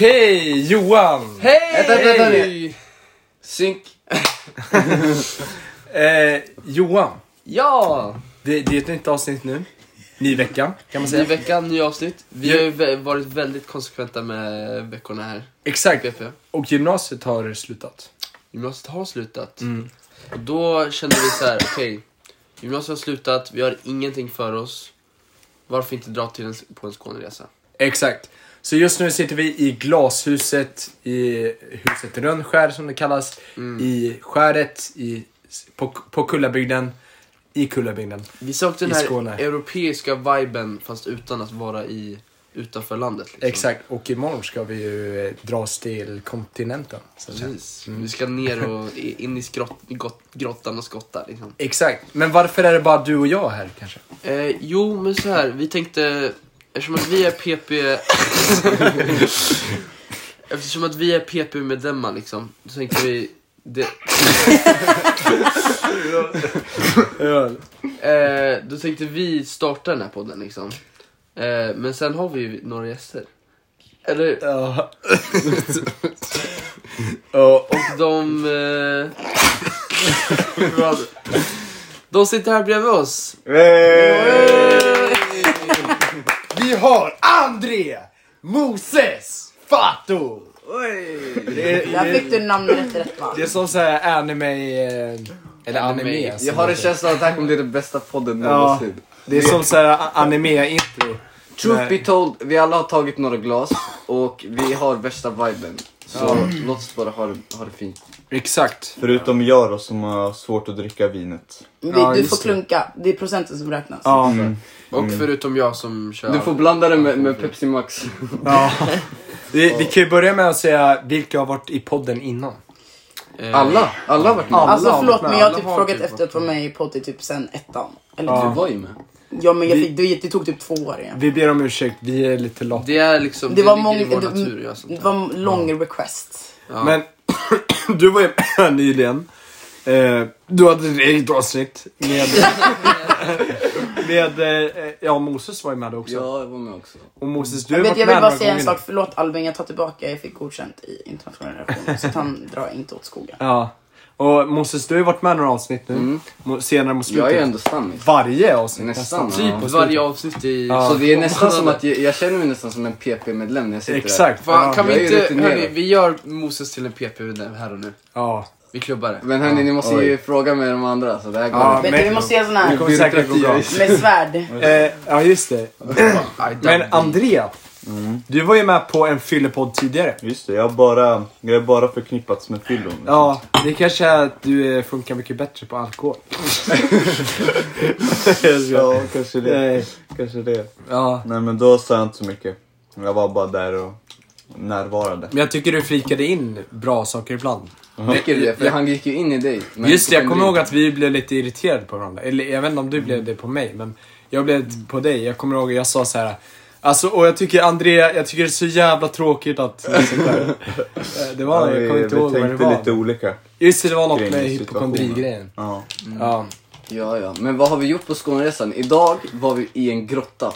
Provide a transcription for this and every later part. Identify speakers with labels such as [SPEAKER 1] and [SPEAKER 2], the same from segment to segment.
[SPEAKER 1] Okej, Johan!
[SPEAKER 2] Vänta, vänta nu. Synk.
[SPEAKER 1] Eh, Johan,
[SPEAKER 2] Ja!
[SPEAKER 1] det, det är ett nytt avsnitt nu. Ny vecka, kan man
[SPEAKER 2] Ny
[SPEAKER 1] säga.
[SPEAKER 2] vecka, ny avsnitt. Vi har ju vä- varit väldigt konsekventa med veckorna här.
[SPEAKER 1] Exakt.
[SPEAKER 2] BP.
[SPEAKER 1] Och gymnasiet har slutat.
[SPEAKER 2] Gymnasiet har slutat.
[SPEAKER 1] Mm.
[SPEAKER 2] Och då kände vi så här, okej. gymnasiet har slutat, vi har ingenting för oss. Varför inte dra till en, på en Skåneresa?
[SPEAKER 1] Exakt. Så just nu sitter vi i glashuset, i huset Rönnskär som det kallas.
[SPEAKER 2] Mm.
[SPEAKER 1] I skäret, i, på, på Kullabygden. I Kullabygden.
[SPEAKER 2] Vi sökte den
[SPEAKER 1] I
[SPEAKER 2] här
[SPEAKER 1] Skåne.
[SPEAKER 2] europeiska viben fast utan att vara i, utanför landet. Liksom.
[SPEAKER 1] Exakt. Och imorgon ska vi ju eh, dra oss till kontinenten. Så att säga.
[SPEAKER 2] Precis. Vi ska ner och i- in i skrott, i gott, grottan och skotta liksom.
[SPEAKER 1] Exakt. Men varför är det bara du och jag här kanske?
[SPEAKER 2] Eh, jo, men så här, vi tänkte, eftersom att vi är PP... eftersom att vi är PP-medlemmar liksom, så tänkte vi... Det, eh, då tänkte vi starta den här podden liksom. Eh, men sen har vi ju några gäster. Eller,
[SPEAKER 1] Ja. Ja,
[SPEAKER 2] och de... Eh, vad- de sitter här bredvid oss.
[SPEAKER 1] Vi har André, Moses, Fato. Det är,
[SPEAKER 3] Där fick
[SPEAKER 1] det,
[SPEAKER 3] du namnet rätt va?
[SPEAKER 1] det är som såhär anime... eh, Eller anime.
[SPEAKER 2] Anime.
[SPEAKER 1] alltså.
[SPEAKER 4] Jag har en känsla av att det här kommer bli den bästa podden
[SPEAKER 1] Ja.
[SPEAKER 4] någonsin.
[SPEAKER 1] Det är som såhär anime-intro.
[SPEAKER 4] Truth be told, vi alla har tagit några glas och vi har värsta viben. Så låt oss bara ha det, ha det fint.
[SPEAKER 1] Exakt.
[SPEAKER 5] Förutom jag då som har svårt att dricka vinet. Mm,
[SPEAKER 3] Vi,
[SPEAKER 1] Ja,
[SPEAKER 3] du
[SPEAKER 1] just
[SPEAKER 3] får
[SPEAKER 1] det.
[SPEAKER 3] klunka, det är procenten som räknas.
[SPEAKER 1] Ja.
[SPEAKER 2] Och förutom jag som kör.
[SPEAKER 4] Du får blanda det med, med Pepsi Max.
[SPEAKER 1] ja. Vi, vi kan ju börja med att säga vilka har varit i podden innan.
[SPEAKER 2] Eh,
[SPEAKER 4] Alla, alla har varit med.
[SPEAKER 3] Alltså
[SPEAKER 1] alla har
[SPEAKER 3] förlåt
[SPEAKER 1] varit
[SPEAKER 3] men
[SPEAKER 1] med,
[SPEAKER 3] jag har
[SPEAKER 2] alla
[SPEAKER 3] typ
[SPEAKER 2] har
[SPEAKER 3] frågat
[SPEAKER 2] typ
[SPEAKER 3] efter att få med i podd i typ sen ettan. Eller
[SPEAKER 4] Du
[SPEAKER 3] ja.
[SPEAKER 4] var ju med.
[SPEAKER 3] ja men jag fick, det, det tog typ två år igen.
[SPEAKER 1] Vi ber om ursäkt, vi är lite lata.
[SPEAKER 2] Det är liksom,
[SPEAKER 3] Det
[SPEAKER 2] det,
[SPEAKER 3] var
[SPEAKER 2] ligger i
[SPEAKER 3] många,
[SPEAKER 2] vår
[SPEAKER 3] det,
[SPEAKER 2] natur att göra sånt
[SPEAKER 3] det
[SPEAKER 2] här.
[SPEAKER 3] var lång request.
[SPEAKER 2] Ja.
[SPEAKER 1] Men du var ju med nyligen. Eh, du hade ett eget avsnitt med... med eh, ja, Moses var ju med också.
[SPEAKER 4] Ja, jag var med också.
[SPEAKER 1] Och Moses, du har
[SPEAKER 3] Jag, vet,
[SPEAKER 1] varit
[SPEAKER 3] jag
[SPEAKER 1] med
[SPEAKER 3] vill bara
[SPEAKER 1] några
[SPEAKER 3] säga en
[SPEAKER 1] gånger
[SPEAKER 3] sak, förlåt Albin jag tar tillbaka, jag fick godkänt i internationella relationer så att han drar inte åt skogen.
[SPEAKER 1] nu. Ja. Och Moses, du har ju varit med några avsnitt nu. Mo- Senare mot slutet.
[SPEAKER 4] Jag är ändå stammis.
[SPEAKER 1] Varje avsnitt
[SPEAKER 4] Nästan.
[SPEAKER 2] Typ
[SPEAKER 4] Ja.
[SPEAKER 2] varje avsnitt i...
[SPEAKER 1] Ja.
[SPEAKER 4] Så det är nästan
[SPEAKER 2] Månad.
[SPEAKER 4] som att jag, jag känner mig nästan som en PP-medlem när jag sitter
[SPEAKER 1] Exakt.
[SPEAKER 2] Fan, kan
[SPEAKER 1] ja.
[SPEAKER 4] jag
[SPEAKER 2] vi
[SPEAKER 4] är
[SPEAKER 2] inte...
[SPEAKER 4] rutinerad.
[SPEAKER 2] Hörni, vi gör Moses till en PP nu- här och nu.
[SPEAKER 1] ja.
[SPEAKER 2] Vi klubbar det.
[SPEAKER 4] där. Men hörni, ni måste ju fråga med de andra så det här går
[SPEAKER 1] Ja,
[SPEAKER 4] inte.
[SPEAKER 3] Vet du, vi måste göra sån
[SPEAKER 1] Det
[SPEAKER 3] här
[SPEAKER 1] kommer säkert gå bra.
[SPEAKER 4] Byråkrati.
[SPEAKER 3] med svärd.
[SPEAKER 1] Eh, ja, just det.
[SPEAKER 2] I dub
[SPEAKER 1] Men
[SPEAKER 2] thee.
[SPEAKER 1] Andrea, du var ju med på en fyllepodd tidigare.
[SPEAKER 5] Just det, jag har bara, jag är bara förknippats med fyllon.
[SPEAKER 1] Ja, det kanske är att du eh, funkar mycket bättre på alkohol.
[SPEAKER 5] ja, kanske det.
[SPEAKER 1] Eh,
[SPEAKER 5] Kanske det.
[SPEAKER 1] ja.
[SPEAKER 5] Nej men då sa jag inte så mycket. Jag var bara där och närvarade.
[SPEAKER 1] Men jag tycker du flikade in bra saker ibland.
[SPEAKER 4] Dricker du det? För han gick ju in i dig. Men-
[SPEAKER 1] Just det, jag kommer ihåg att vi blev lite irriterade på varandra. Eller jag vet inte om du blev det på mig, men jag blev det på dig. Jag kommer ihåg jag sa så här. Alltså, och jag tycker Andrea, jag tycker det är så jävla tråkigt att... sånt där. Eh, Det var,
[SPEAKER 5] vi,
[SPEAKER 1] jag kommer inte
[SPEAKER 5] vi
[SPEAKER 1] ihåg vad det
[SPEAKER 5] tänkte
[SPEAKER 1] var.
[SPEAKER 5] lite olika.
[SPEAKER 1] Just det, det var något
[SPEAKER 5] kring
[SPEAKER 1] med
[SPEAKER 5] situationen.
[SPEAKER 1] hypokondrigrejen.
[SPEAKER 5] Ja.
[SPEAKER 1] Ja.
[SPEAKER 4] Ja, ja. Men vad har vi gjort på Skåneresan? Idag var vi i en grotta.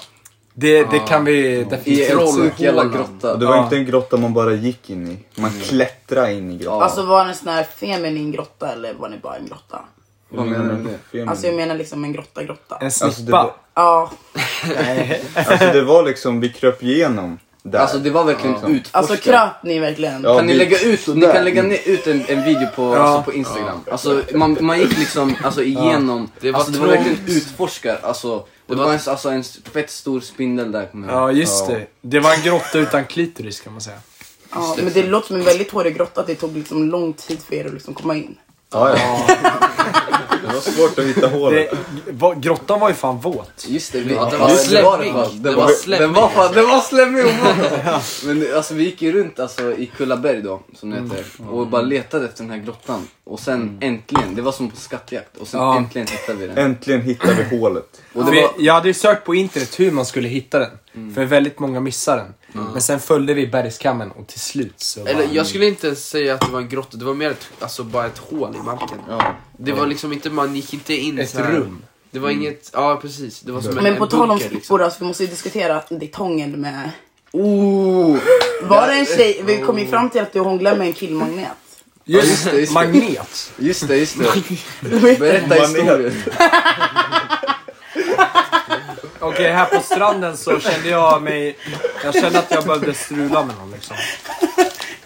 [SPEAKER 1] Det, det kan vi
[SPEAKER 4] I
[SPEAKER 1] definitivt...
[SPEAKER 4] en sjuk jävla
[SPEAKER 2] Trollhålan.
[SPEAKER 4] grotta.
[SPEAKER 5] Och det var
[SPEAKER 1] Ja.
[SPEAKER 5] inte en grotta man bara gick in i. Man klättrade in i grottan.
[SPEAKER 3] Alltså var det en sån här feminin grotta eller var det bara en grotta?
[SPEAKER 4] Vad menar du med det?
[SPEAKER 5] Feminin.
[SPEAKER 3] Alltså jag menar liksom en grotta grotta.
[SPEAKER 1] Mm. En
[SPEAKER 5] Alltså, det
[SPEAKER 1] snippa.
[SPEAKER 5] var-
[SPEAKER 3] Ja,
[SPEAKER 5] Alltså det var liksom, vi kröp igenom där.
[SPEAKER 4] Alltså det var verkligen utforskat.
[SPEAKER 3] alltså kröp ni verkligen?
[SPEAKER 5] Ja,
[SPEAKER 4] Kan ni
[SPEAKER 5] vi-
[SPEAKER 4] lägga ut, ni kan lägga ner- ut en, en video på, alltså på Instagram. Alltså man, man gick liksom alltså, igenom,
[SPEAKER 2] Det var
[SPEAKER 4] alltså, det var
[SPEAKER 2] trångt.
[SPEAKER 4] verkligen utforskar. Alltså, och det var en, alltså, en fett stor spindel där kommer jag ihåg.
[SPEAKER 1] Ja, just det. Det var en grotta utan klitoris kan man säga.
[SPEAKER 3] Ja, men det låter som en väldigt hårig grotta att det tog liksom lång tid för er att liksom komma in.
[SPEAKER 5] ja, ja. Det var svårt att hitta hålet.
[SPEAKER 1] Det, va- grottan var ju fan våt.
[SPEAKER 4] Just det, vi,
[SPEAKER 2] det var slemmig.
[SPEAKER 4] fan-
[SPEAKER 2] Det
[SPEAKER 4] Det
[SPEAKER 2] var
[SPEAKER 4] var
[SPEAKER 2] slemmig.
[SPEAKER 4] Den var fan, den var slemmig och våt. Men alltså vi gick ju runt alltså i Kullaberg då, som det heter. Och bara letade efter den här grottan. Och sen äntligen, det var som på skattjakt. Och sen
[SPEAKER 1] Ja.
[SPEAKER 4] äntligen hittade vi den.
[SPEAKER 5] Äntligen hittade vi hålet.
[SPEAKER 4] Och det
[SPEAKER 1] Vi,
[SPEAKER 4] var,
[SPEAKER 1] Jag hade ju sökt på internet hur man skulle hitta den.
[SPEAKER 4] Mm.
[SPEAKER 1] För väldigt många missar den. Men sen följde vi bergskammen och till slut så...
[SPEAKER 2] Eller
[SPEAKER 1] bara,
[SPEAKER 2] jag skulle inte ens säga att det var en grotta, det var mer ett, alltså, bara ett hål i marken.
[SPEAKER 4] ja.
[SPEAKER 2] Det var liksom inte, man gick inte in
[SPEAKER 1] Ett
[SPEAKER 2] så här.
[SPEAKER 1] rum.
[SPEAKER 2] Det
[SPEAKER 4] Mm.
[SPEAKER 2] var inget, ja precis. Det var som en,
[SPEAKER 3] Men på
[SPEAKER 2] en
[SPEAKER 3] tal om
[SPEAKER 2] bunker, liksom.
[SPEAKER 3] flickor, alltså, vi måste ju diskutera detongen med
[SPEAKER 4] Oh!
[SPEAKER 3] Var det en tjej, vi kom ju fram till att du hånglade med en killmagnet.
[SPEAKER 1] Just,
[SPEAKER 4] just det, just det.
[SPEAKER 1] Magnet.
[SPEAKER 4] Just det, just det. Berätta historien.
[SPEAKER 1] Okej, här på stranden så kände jag mig... Jag kände att jag behövde strula med någon liksom.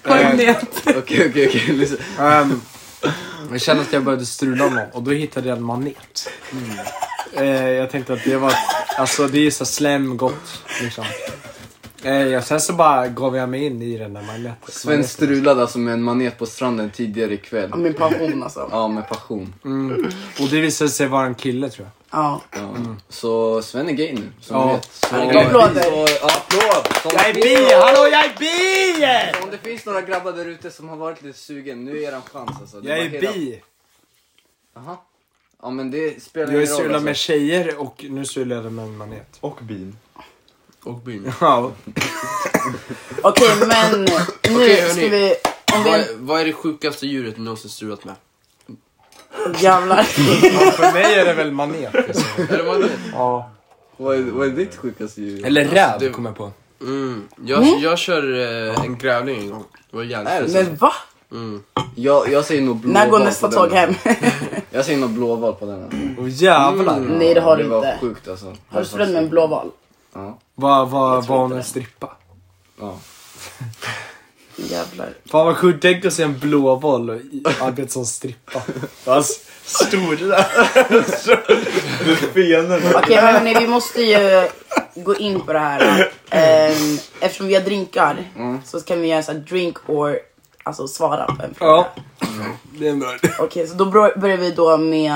[SPEAKER 3] Magnet.
[SPEAKER 4] Okej, okej, okej. lyssna.
[SPEAKER 1] Ehm, jag kände att jag började strula med någon och då hittade jag en manet.
[SPEAKER 4] Mm.
[SPEAKER 1] Eh, jag tänkte att det var, alltså det är så slem gott liksom. Eh, och sen så bara gav jag mig in i den där maneten.
[SPEAKER 4] Sven strulade alltså med en manet på stranden tidigare ikväll.
[SPEAKER 3] Ja, Min passion alltså.
[SPEAKER 4] Ja, med passion.
[SPEAKER 1] Mm. Och det visade sig vara en kille tror jag.
[SPEAKER 3] Ja.
[SPEAKER 4] Ja. Så Sven är gay nu, som
[SPEAKER 1] Ja.
[SPEAKER 4] ni vet. Så,
[SPEAKER 1] Han är gay.
[SPEAKER 3] Applåder.
[SPEAKER 4] Så, applåd! Som
[SPEAKER 1] Jag är bi! Hallå jag är bi!
[SPEAKER 4] Om det finns några grabbar där ute som har varit lite sugen, nu är eran chans alltså. Det
[SPEAKER 1] Jag
[SPEAKER 4] var
[SPEAKER 1] är
[SPEAKER 4] hela-
[SPEAKER 1] bi!
[SPEAKER 4] Jaha. Ja men det spelar
[SPEAKER 1] Jag har
[SPEAKER 4] ingen
[SPEAKER 1] strulat
[SPEAKER 4] roll
[SPEAKER 1] med
[SPEAKER 4] alltså.
[SPEAKER 1] tjejer och nu strular jag med en manet.
[SPEAKER 5] Och bin.
[SPEAKER 2] Och bin.
[SPEAKER 1] Ja,
[SPEAKER 3] Okej men nu
[SPEAKER 2] Okej,
[SPEAKER 3] ska
[SPEAKER 2] hörni.
[SPEAKER 3] vi... Om
[SPEAKER 2] Vad
[SPEAKER 3] vi
[SPEAKER 2] är, vad är det sjukaste djuret ni någonsin strulat med?
[SPEAKER 3] jävlar.
[SPEAKER 1] för mig är det väl manet. Liksom.
[SPEAKER 2] Eller vad är det?
[SPEAKER 1] Ja.
[SPEAKER 4] Vad är, vad är ditt sjukaste djur?
[SPEAKER 1] Eller
[SPEAKER 2] Alltså,
[SPEAKER 1] räv
[SPEAKER 2] det-
[SPEAKER 1] kom jag på.
[SPEAKER 2] Mm. Jag, jag kör eh, en grävling en gång. Det var
[SPEAKER 4] Är
[SPEAKER 2] jävligt
[SPEAKER 4] det så?
[SPEAKER 3] Men va?
[SPEAKER 2] mm.
[SPEAKER 4] Jag, jag säger nog blåval
[SPEAKER 3] När går
[SPEAKER 4] på
[SPEAKER 3] nästa
[SPEAKER 4] den.
[SPEAKER 3] tag hem?
[SPEAKER 4] Jag säger nog blåval på den. här.
[SPEAKER 1] Åh jävlar.
[SPEAKER 3] Nej det har
[SPEAKER 4] Mm. det
[SPEAKER 3] du
[SPEAKER 4] var
[SPEAKER 3] inte.
[SPEAKER 4] sjukt alltså.
[SPEAKER 3] Har du strulat med en blåval?
[SPEAKER 4] Ja.
[SPEAKER 1] Vad var, var hon
[SPEAKER 3] inte
[SPEAKER 1] en
[SPEAKER 3] det.
[SPEAKER 1] strippa?
[SPEAKER 4] ja.
[SPEAKER 3] Jävlar.
[SPEAKER 1] Fan vad sjukt, tänk att se en blåboll och i- arbeta som strippa. Alltså,
[SPEAKER 5] Stor där. Med fenorna.
[SPEAKER 3] Okej men hörni vi måste ju gå in på det här. Ehm, eftersom vi har drinkar
[SPEAKER 1] Mm.
[SPEAKER 3] så kan vi göra så här drink or alltså svara på en fråga.
[SPEAKER 1] ja. Det är en bra idé.
[SPEAKER 3] Okej så då bro- börjar vi då med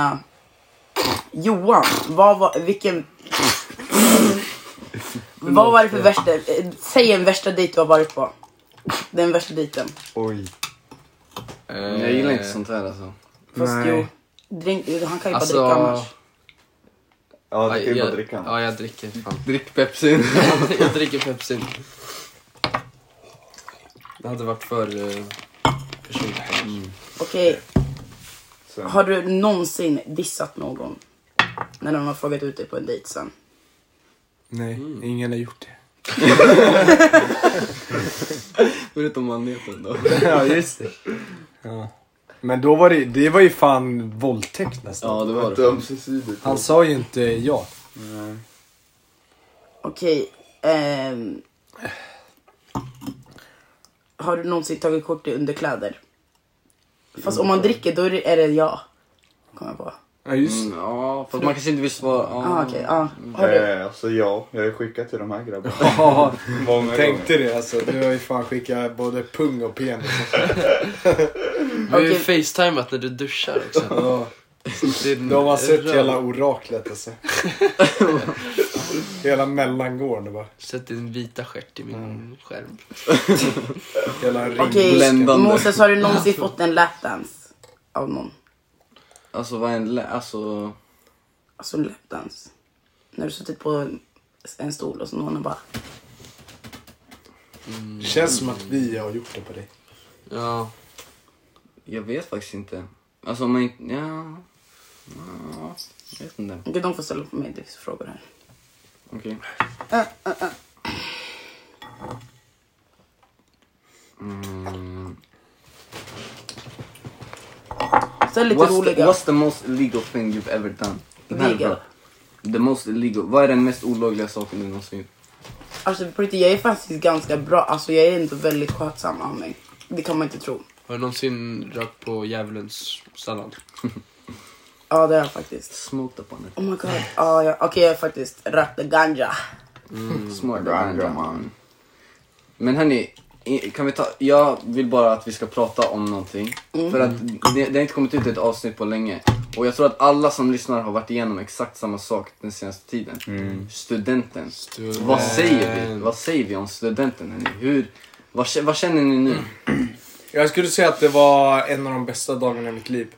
[SPEAKER 3] Johan. Vad var, vilken... Vad var det för värsta, eh, säg en värsta dejt du har varit på. Den värsta dejten.
[SPEAKER 5] Oj.
[SPEAKER 4] Men Jag gillar inte
[SPEAKER 1] Eh.
[SPEAKER 4] sånt här alltså.
[SPEAKER 3] Fast
[SPEAKER 1] Nej.
[SPEAKER 3] jo, drink, han kan ju
[SPEAKER 2] Alltså-
[SPEAKER 3] bara dricka annars.
[SPEAKER 5] Ja,
[SPEAKER 2] Aj,
[SPEAKER 5] det är ju bara
[SPEAKER 2] Eh, jag,
[SPEAKER 5] drickan.
[SPEAKER 2] ja, jag dricker. Fan.
[SPEAKER 4] Drick Pepsi.
[SPEAKER 2] jag dricker Pepsi. Det hade varit för eh, personligt.
[SPEAKER 3] Okej,
[SPEAKER 5] Sen.
[SPEAKER 3] har du någonsin dissat någon? När de har frågat ut dig på en dejt sen.
[SPEAKER 1] Nej, ingen har gjort det.
[SPEAKER 4] Förutom maneten då.
[SPEAKER 1] ja, just det. Ja. Men då var det, det var ju fan våldtäkt nästan.
[SPEAKER 4] Ja det var
[SPEAKER 5] Ett
[SPEAKER 4] det.
[SPEAKER 5] ömsesidigt.
[SPEAKER 1] Han sa ju inte ja.
[SPEAKER 3] Okej, ehm, Har du någonsin tagit kort i underkläder? Fast om man dricker då är det, är det ja. Kommer jag på.
[SPEAKER 1] Ja, just
[SPEAKER 4] Mm, ja, fast man kanske inte vill svara. Ja.
[SPEAKER 3] Ah, okej, ah. Har du,
[SPEAKER 5] Eh, alltså ja, jag har ju skickat till de här grabbarna.
[SPEAKER 1] Ja,
[SPEAKER 5] Många gånger.
[SPEAKER 1] tänkte det alltså. Du har ju fan skickat både pung och penis.
[SPEAKER 2] Vi har ju
[SPEAKER 3] Okej.
[SPEAKER 2] facetimat när du duschar också.
[SPEAKER 1] Ja.
[SPEAKER 2] Din
[SPEAKER 1] De har sett
[SPEAKER 2] röv-
[SPEAKER 1] hela oraklet alltså. Hela mellangården bara.
[SPEAKER 2] Sett din vita stjärt i min skärm.
[SPEAKER 1] Hela
[SPEAKER 3] okej,
[SPEAKER 4] Bländande.
[SPEAKER 3] Moses har du någonsin fått en lapdance? Av någon?
[SPEAKER 4] Alltså vad är en lä- alltså.
[SPEAKER 3] Alltså en lapdance? När du suttit på en, en stol och så någon har bara...
[SPEAKER 1] Det känns som att vi har gjort det på dig.
[SPEAKER 2] Ja.
[SPEAKER 4] Jag vet faktiskt inte. Alltså om man inte, ja. ja. Jag vet inte.
[SPEAKER 3] Okej, de får ställa på mig lite frågor här.
[SPEAKER 4] Okej. Mm.
[SPEAKER 3] Ställ lite
[SPEAKER 4] What's the,
[SPEAKER 3] roliga.
[SPEAKER 4] what's the most illegal thing you've ever done? Den här är
[SPEAKER 3] Legal.
[SPEAKER 4] bra. The most illegal. Vad är den mest olagliga saken du någonsin gjort?
[SPEAKER 3] Alltså på riktigt, jag är faktiskt ganska bra. Alltså jag är inte väldigt skötsam av mig. Det kan man inte tro.
[SPEAKER 2] Har du någonsin rökt på djävulens sallad?
[SPEAKER 3] Ja, det är jag faktiskt.
[SPEAKER 4] Smoked upon it.
[SPEAKER 3] Oh my god. Ja, jag, okej, jag har faktiskt rökte ganja.
[SPEAKER 4] Smart
[SPEAKER 5] Ganja,
[SPEAKER 4] man. Men hörni, i- kan vi ta, jag vill bara att vi ska prata om någonting.
[SPEAKER 2] Mm.
[SPEAKER 4] För att det, det har inte kommit ut ett avsnitt på länge. Och jag tror att alla som lyssnar har varit igenom exakt samma sak den senaste tiden. Studenten.
[SPEAKER 2] Student.
[SPEAKER 4] Vad säger
[SPEAKER 2] Eh, Mm.
[SPEAKER 4] vi? Vad säger vi om studenten hörni? Hur, vad, kä- vad känner ni nu?
[SPEAKER 1] Jag skulle säga att det var en av de bästa dagarna i mitt liv.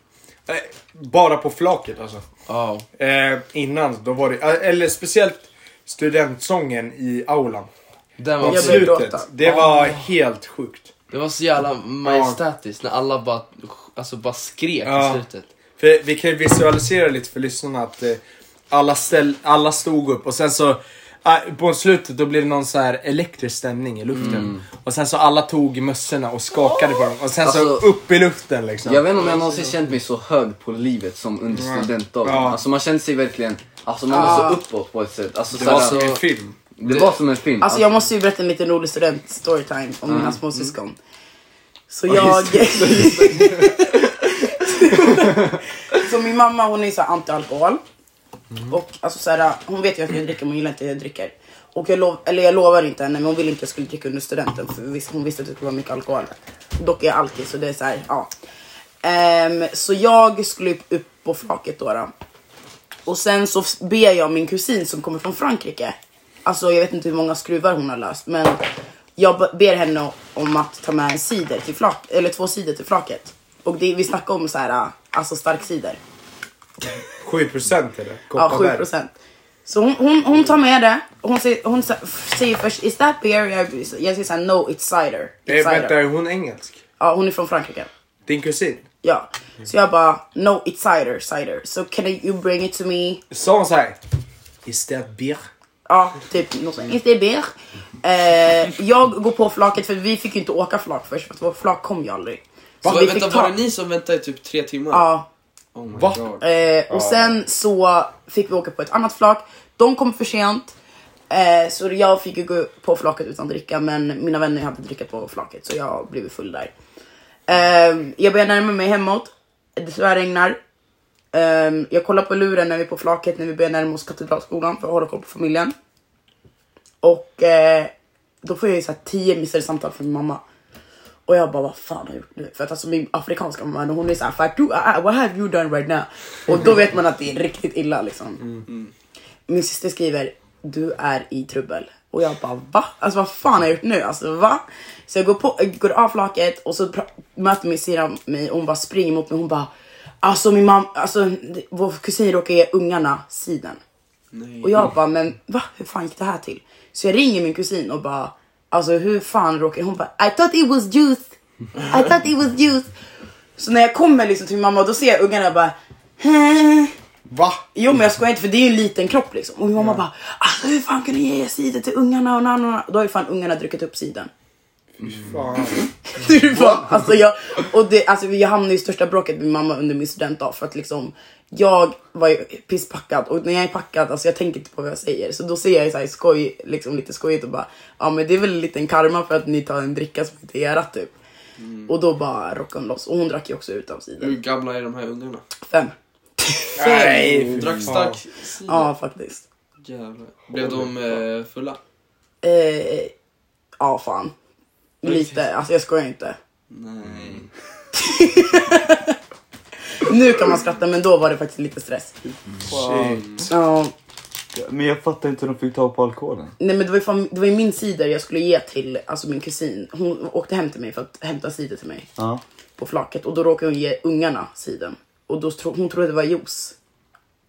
[SPEAKER 1] Eh, Bara på flaket alltså.
[SPEAKER 2] Ja.
[SPEAKER 1] Eh, innan då var det, eh, eller speciellt studentsången i aulan.
[SPEAKER 2] Den
[SPEAKER 1] Mot
[SPEAKER 2] var
[SPEAKER 3] Jag började
[SPEAKER 1] slutet.
[SPEAKER 3] gråta.
[SPEAKER 1] Det var helt sjukt.
[SPEAKER 2] Det var så jävla majestätiskt när alla bara, alltså bara skrek
[SPEAKER 1] Ja.
[SPEAKER 2] i slutet.
[SPEAKER 1] För vi kan ju visualisera lite för lyssnarna att eh, alla, ställ, alla stod upp och sen så ah, på slutet då blev det någon så här elektrisk stämning i luften.
[SPEAKER 4] Mm.
[SPEAKER 1] Och sen så alla tog mössorna och skakade på dem. Och sen så
[SPEAKER 4] Alltså-
[SPEAKER 1] upp i luften liksom.
[SPEAKER 4] Jag vet inte om jag någonsin känt mig så hög på livet som under studentdagen.
[SPEAKER 1] Ja.
[SPEAKER 4] Alltså man kände sig verkligen, alltså man var så uppåt på ett sätt. Alltså,
[SPEAKER 1] det
[SPEAKER 4] så här,
[SPEAKER 1] var
[SPEAKER 4] alltså,
[SPEAKER 1] som
[SPEAKER 4] det,
[SPEAKER 1] en film.
[SPEAKER 4] var som en film.
[SPEAKER 3] Alltså jag måste ju berätta en liten rolig student storytime om mina småsyskon. Så jag... så min mamma hon är så här anti-alkohol. Och alltså så här, hon vet ju att jag dricker men hon gillar inte att jag dricker. Och jag, lov, eller jag lovar inte henne men hon ville inte att jag skulle dricka under studenten för vi- hon visste att det skulle vara mycket alkohol. Dock är jag alltid så det är så här, ja. Ehm, så jag skulle upp, upp på flaket då. då. Och sen så ber jag min kusin som kommer från Frankrike. Alltså jag vet inte hur många skruvar hon har löst men jag b- ber henne om att ta med en cider till flak eller två cider till flaket. Och det, vi snackar om så här, alltså stark cider.
[SPEAKER 1] 7% eller?
[SPEAKER 3] Ja, 7 procent. Så hon, hon, hon tar med det. Hon säger, hon sa- säger först is that beer? Jag, jag säger såhär no it's cider.
[SPEAKER 1] Eh,
[SPEAKER 3] It's
[SPEAKER 1] vänta,
[SPEAKER 3] cider.
[SPEAKER 1] är hon engelsk?
[SPEAKER 3] Ja, hon är från Frankrike.
[SPEAKER 1] Din kusin?
[SPEAKER 3] Ja. Så jag bara no it's cider, cider. So can you bring it to me?
[SPEAKER 1] Sa hon såhär? Is that beer?
[SPEAKER 3] Ja, typ något sånt. Inte det beer. Eh, jag går på flaket för vi fick ju inte åka flak först för att vår flak kom ju aldrig.
[SPEAKER 2] Så,
[SPEAKER 3] vi
[SPEAKER 2] vänta, var det ni som väntade i typ tre timmar?
[SPEAKER 3] Ja,
[SPEAKER 2] Oh my
[SPEAKER 1] Va?
[SPEAKER 2] god.
[SPEAKER 3] eh, och sen så fick vi åka på ett annat flak. De kom för sent. Eh, så jag fick ju gå på flaket utan dricka men mina vänner hade dricka på flaket så jag blev full där. Eh, jag börjar närma mig hemåt. Det tyvärr regnar. Eh, jag kollar på luren när vi är på flaket när vi börjar närma oss Katedralskolan för att hålla koll på familjen. Och eh, då får jag ju så här 10 missade samtal från min mamma. Och jag bara vad fan har jag gjort nu? För att alltså min afrikanska mamma hon är såhär "Fatu, ah, ah, what have you done right now? Och då vet man att det är riktigt illa liksom. Min syster skriver du är i trubbel. Och jag bara va? Alltså vad fan har jag gjort nu? Alltså va? Så jag går, på, går av flaket och så pra- möter min syrra mig och hon bara springer mot mig hon bara Alltså min mamma, alltså vår kusin råkar ge ungarna siden.
[SPEAKER 2] Nej.
[SPEAKER 3] Och jag bara, men va? Hur fan gick det här till? Så jag ringer min kusin och bara, alltså hur fan råkade Hon bara, I thought it was juice. I thought it was juice. Så när jag kommer liksom till min mamma då ser jag ungarna och bara, "Hä?"
[SPEAKER 1] Va?
[SPEAKER 3] Jo men jag skojar inte för det är ju en liten kropp liksom. Och min mamma bara, alltså hur fan kan du ge cider till ungarna och nannarna? Då har ju fan ungarna druckit upp sidan.
[SPEAKER 1] Fan.
[SPEAKER 3] Det är bara- alltså jag, och det, alltså jag hamnade i största bråket med mamma under min studentdag för att liksom jag var ju pisspackad och när jag är packad, alltså jag tänker inte på vad jag säger. Så då säger jag ju så här skoj, liksom lite skojigt och bara ja men det är väl en liten karma för att ni tar en dricka som inte är rätt typ. Och då bara rockade hon loss och hon drack ju också ut av
[SPEAKER 2] Hur
[SPEAKER 3] sidan.
[SPEAKER 2] gamla är de här ungarna?
[SPEAKER 3] Fem.
[SPEAKER 1] Nej, fy
[SPEAKER 2] Drack
[SPEAKER 1] fan.
[SPEAKER 2] stark cider?
[SPEAKER 3] Ja faktiskt.
[SPEAKER 2] Jävlar. Blev de eh, fulla?
[SPEAKER 3] Eh, ja fan. Lite, alltså jag skojar inte.
[SPEAKER 2] Nej.
[SPEAKER 3] Nu kan man skratta men då var det faktiskt lite stress.
[SPEAKER 1] Shit.
[SPEAKER 3] Ja.
[SPEAKER 5] Men jag fattar inte hur de fick tag på alkoholen.
[SPEAKER 3] Nej men det var ju, fan, det var ju min cider jag skulle ge till alltså min kusin. Hon åkte hem till mig för att hämta cider till mig
[SPEAKER 5] Ja.
[SPEAKER 3] på flaket och då råkade hon ge ungarna cider. Och då tro, hon trodde det var juice.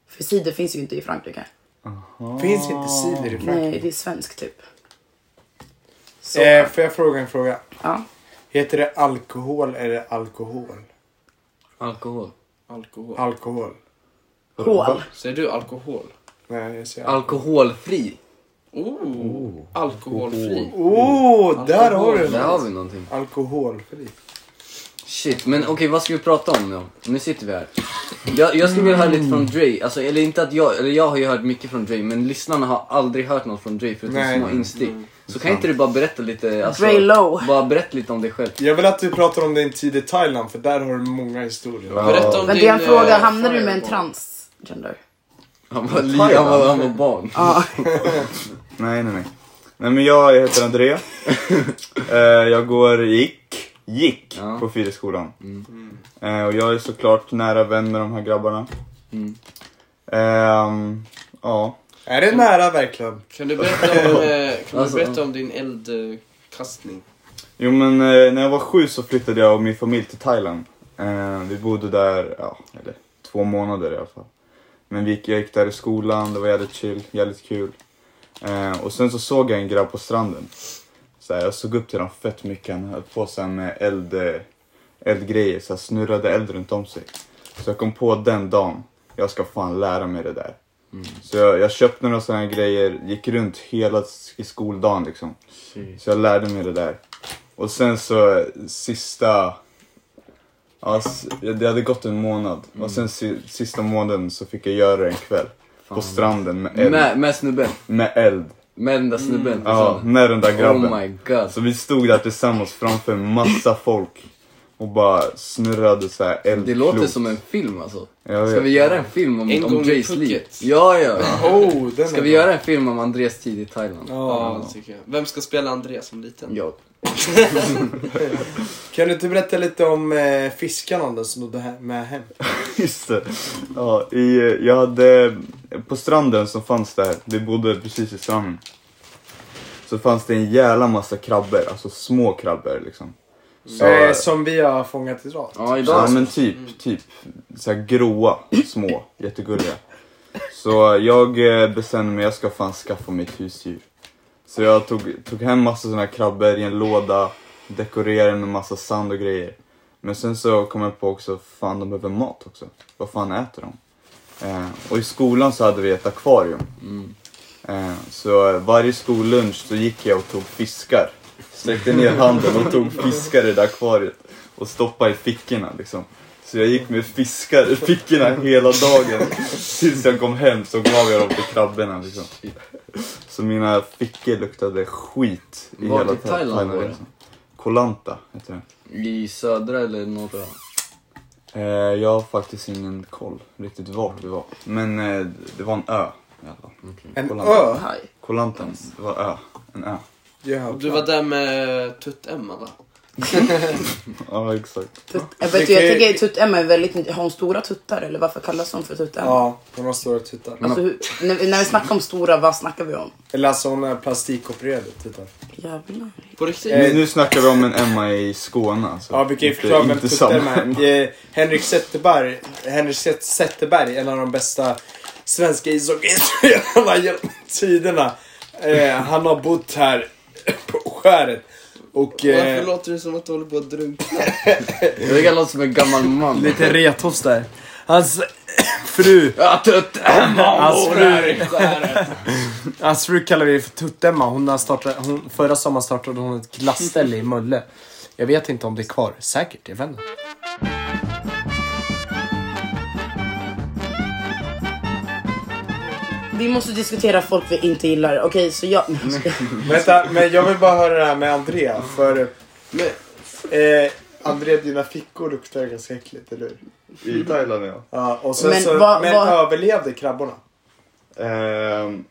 [SPEAKER 3] För cider finns ju inte i Frankrike.
[SPEAKER 1] Finns inte cider i
[SPEAKER 3] Nej,
[SPEAKER 1] Frankrike?
[SPEAKER 3] det är svenskt typ. Så,
[SPEAKER 1] Eh, får jag fråga en fråga?
[SPEAKER 3] ja.
[SPEAKER 1] Heter det alkohol eller alkohol?
[SPEAKER 4] Alkohol.
[SPEAKER 2] Alkohol.
[SPEAKER 1] Alkohol.
[SPEAKER 3] Hål.
[SPEAKER 2] Säger du alkohol?
[SPEAKER 1] Nej, jag säger alkohol.
[SPEAKER 4] Alkoholfri.
[SPEAKER 2] Oh, Alkoholfri.
[SPEAKER 1] Oh, där har du
[SPEAKER 2] Alkohol.
[SPEAKER 1] det.
[SPEAKER 4] Där har vi någonting.
[SPEAKER 1] Alkoholfri.
[SPEAKER 4] Shit, men okej vad ska vi prata om nu? Nu sitter vi här. Jag, jag skulle vilja höra lite från Dre, alltså, eller inte att jag, eller jag har ju hört mycket från Dre men lyssnarna har aldrig hört något från Dre förutom
[SPEAKER 1] Nej.
[SPEAKER 4] små instick. Så kan inte du bara berätta lite, alltså,
[SPEAKER 3] Dre Low.
[SPEAKER 4] bara berätta lite om dig själv.
[SPEAKER 1] Jag vill att du pratar om din tid i Thailand för där har du många historier.
[SPEAKER 2] Berätta om
[SPEAKER 3] Men
[SPEAKER 2] din...
[SPEAKER 3] det är en fråga,
[SPEAKER 2] eh,
[SPEAKER 3] hamnade du med en
[SPEAKER 2] fireball.
[SPEAKER 3] transgender?
[SPEAKER 4] Han var, li, han var, han var barn.
[SPEAKER 3] Ja.
[SPEAKER 5] Nej, nej, nej. Nej, men jag heter André. Eh, jag går gick, gick
[SPEAKER 4] Ja.
[SPEAKER 5] på Fyrisskolan. Eh, och jag är såklart nära vän med de här grabbarna. Mm. Ehm, ja.
[SPEAKER 1] Är det nära verkligen?
[SPEAKER 2] Kan du berätta om, eh, kan
[SPEAKER 4] Alltså.
[SPEAKER 2] du berätta om din eldkastning?
[SPEAKER 5] Jo men eh, när jag var sju så flyttade jag och min familj till Thailand. Eh, vi bodde där, ja, eller två månader i alla fall. Men vi gick, jag gick där i skolan, det var jävligt chill, jävligt kul. Eh, och sen så såg jag en grabb på stranden. Så här, jag såg upp till honom fett mycket, han höll på sig med eld, eh, eldgrejer, så här, snurrade eld runt om sig. Så jag kom på den dagen, jag ska fan lära mig det där. Så jag, jag köpte några sådana grejer, gick runt hela s- i skoldagen liksom. Så jag lärde mig det där. Och sen så eh, sista... Ja, s- det hade gått en månad och sen si, sista månaden så fick jag göra det en kväll. På stranden med eld.
[SPEAKER 4] Med, med snubben.
[SPEAKER 5] Med eld.
[SPEAKER 4] Med den där snubben.
[SPEAKER 5] Ja,
[SPEAKER 4] tillsammans.
[SPEAKER 5] med den där grabben.
[SPEAKER 4] Oh my god.
[SPEAKER 5] Så vi stod där tillsammans framför en massa folk och bara snurrade så här eldklot.
[SPEAKER 4] Det låter som en film alltså.
[SPEAKER 5] Jag
[SPEAKER 4] Ska
[SPEAKER 5] vet.
[SPEAKER 4] vi göra en film om,
[SPEAKER 2] En
[SPEAKER 4] om
[SPEAKER 2] gång i
[SPEAKER 4] Jays liv?
[SPEAKER 2] Phuket.
[SPEAKER 4] Ja, ja.
[SPEAKER 1] Oh, den
[SPEAKER 4] Ska vi göra en film om Andres tid i Thailand?
[SPEAKER 1] Ja.
[SPEAKER 2] Ja, det tycker jag. Vem ska spela Andreas som liten?
[SPEAKER 4] Jag.
[SPEAKER 1] Kan du inte berätta lite om eh, fiskarna då, som du hade med hem?
[SPEAKER 5] Just det. Ja, i, jag hade, på stranden som fanns där, vi bodde precis i stranden. Så fanns det en jävla massa krabbor, alltså små krabbor liksom. Så,
[SPEAKER 1] Eh, som vi har fångat idag.
[SPEAKER 4] Ja,
[SPEAKER 5] ja
[SPEAKER 4] idag.
[SPEAKER 5] men typ, typ. Så här gråa, små, jättegulliga. Så jag eh, bestämde mig, jag ska fan skaffa mig ett husdjur. Så jag tog, tog hem massa såna här krabbor i en låda, dekorerade med massa sand och grejer. Men sen så kom jag på också, fan de behöver mat också. Vad fan äter de? Eh, och i skolan så hade vi ett akvarium. Eh, så varje skollunch så gick jag och tog fiskar. Sträckte ner handen och tog fiskar i det akvariet och stoppade i fickorna liksom. Så jag gick med fiskar i fickorna hela dagen. Tills jag kom hem så gav jag dem till krabborna liksom. Så mina fickor luktade skit i
[SPEAKER 4] Vart
[SPEAKER 5] hela
[SPEAKER 4] i Thailand var det?
[SPEAKER 5] liksom. Kolanta heter det.
[SPEAKER 4] I södra eller norra?
[SPEAKER 5] Eh, jag har faktiskt ingen koll riktigt vart vi var. Men eh, det var en ö i alla fall.
[SPEAKER 1] En
[SPEAKER 5] Kolla.
[SPEAKER 1] ö?
[SPEAKER 3] Haj.
[SPEAKER 5] Kolantan, det var ö. En ö.
[SPEAKER 1] Ja.
[SPEAKER 2] Du var där med Tutt-Emma va?
[SPEAKER 5] Ja, exakt.
[SPEAKER 3] Tut- Jag, vet, ju, jag tänker tutt-Emma är väldigt nytt- Har hon stora tuttar eller varför kallas hon för tutt-Emma?
[SPEAKER 1] Ja, hon har stora tuttar.
[SPEAKER 3] Alltså, hur, när, när vi snackar om stora, vad snackar vi om?
[SPEAKER 1] Eller alltså hon är plastikopererad tuttar.
[SPEAKER 3] Jävlar.
[SPEAKER 2] På riktigt?
[SPEAKER 5] Nu, nu snackar vi om en Emma i Skåne alltså.
[SPEAKER 1] Ja, vi kan ju
[SPEAKER 5] Inte-
[SPEAKER 1] förklara vem
[SPEAKER 5] inte
[SPEAKER 1] tutten
[SPEAKER 5] samma Emma.
[SPEAKER 1] är. Eh, Henrik Zetterberg, Henrik Zet- Zetterberg, en av de bästa svenska ishockeyspelarna genom tiderna. Eh, han har bott här på skäret. Och
[SPEAKER 2] Varför
[SPEAKER 1] eh,
[SPEAKER 2] låter det som att du håller på att drunkna?
[SPEAKER 4] Jag tycker han låter som en gammal man.
[SPEAKER 1] lite retos där. Hans fru,
[SPEAKER 4] Ja, tutt!
[SPEAKER 1] hans fru, hans fru kallar vi för Tuttemma. Hon har startat, hon, förra sommaren startade hon ett glasställe i Mölle. Jag vet inte om det är kvar. Säkert, jag vet inte.
[SPEAKER 3] Vi måste diskutera folk vi inte gillar. Okej, så jag...
[SPEAKER 1] Vänta, men jag vill bara höra det här med Andrea. För
[SPEAKER 2] Men,
[SPEAKER 1] eh, Andrea, dina fickor luktar ganska äckligt, eller hur?
[SPEAKER 5] I Thailand ja.
[SPEAKER 1] Ja, och sen
[SPEAKER 3] Men
[SPEAKER 1] så,
[SPEAKER 3] vad-
[SPEAKER 1] men
[SPEAKER 3] vad-
[SPEAKER 1] överlevde krabborna?
[SPEAKER 5] Ehm,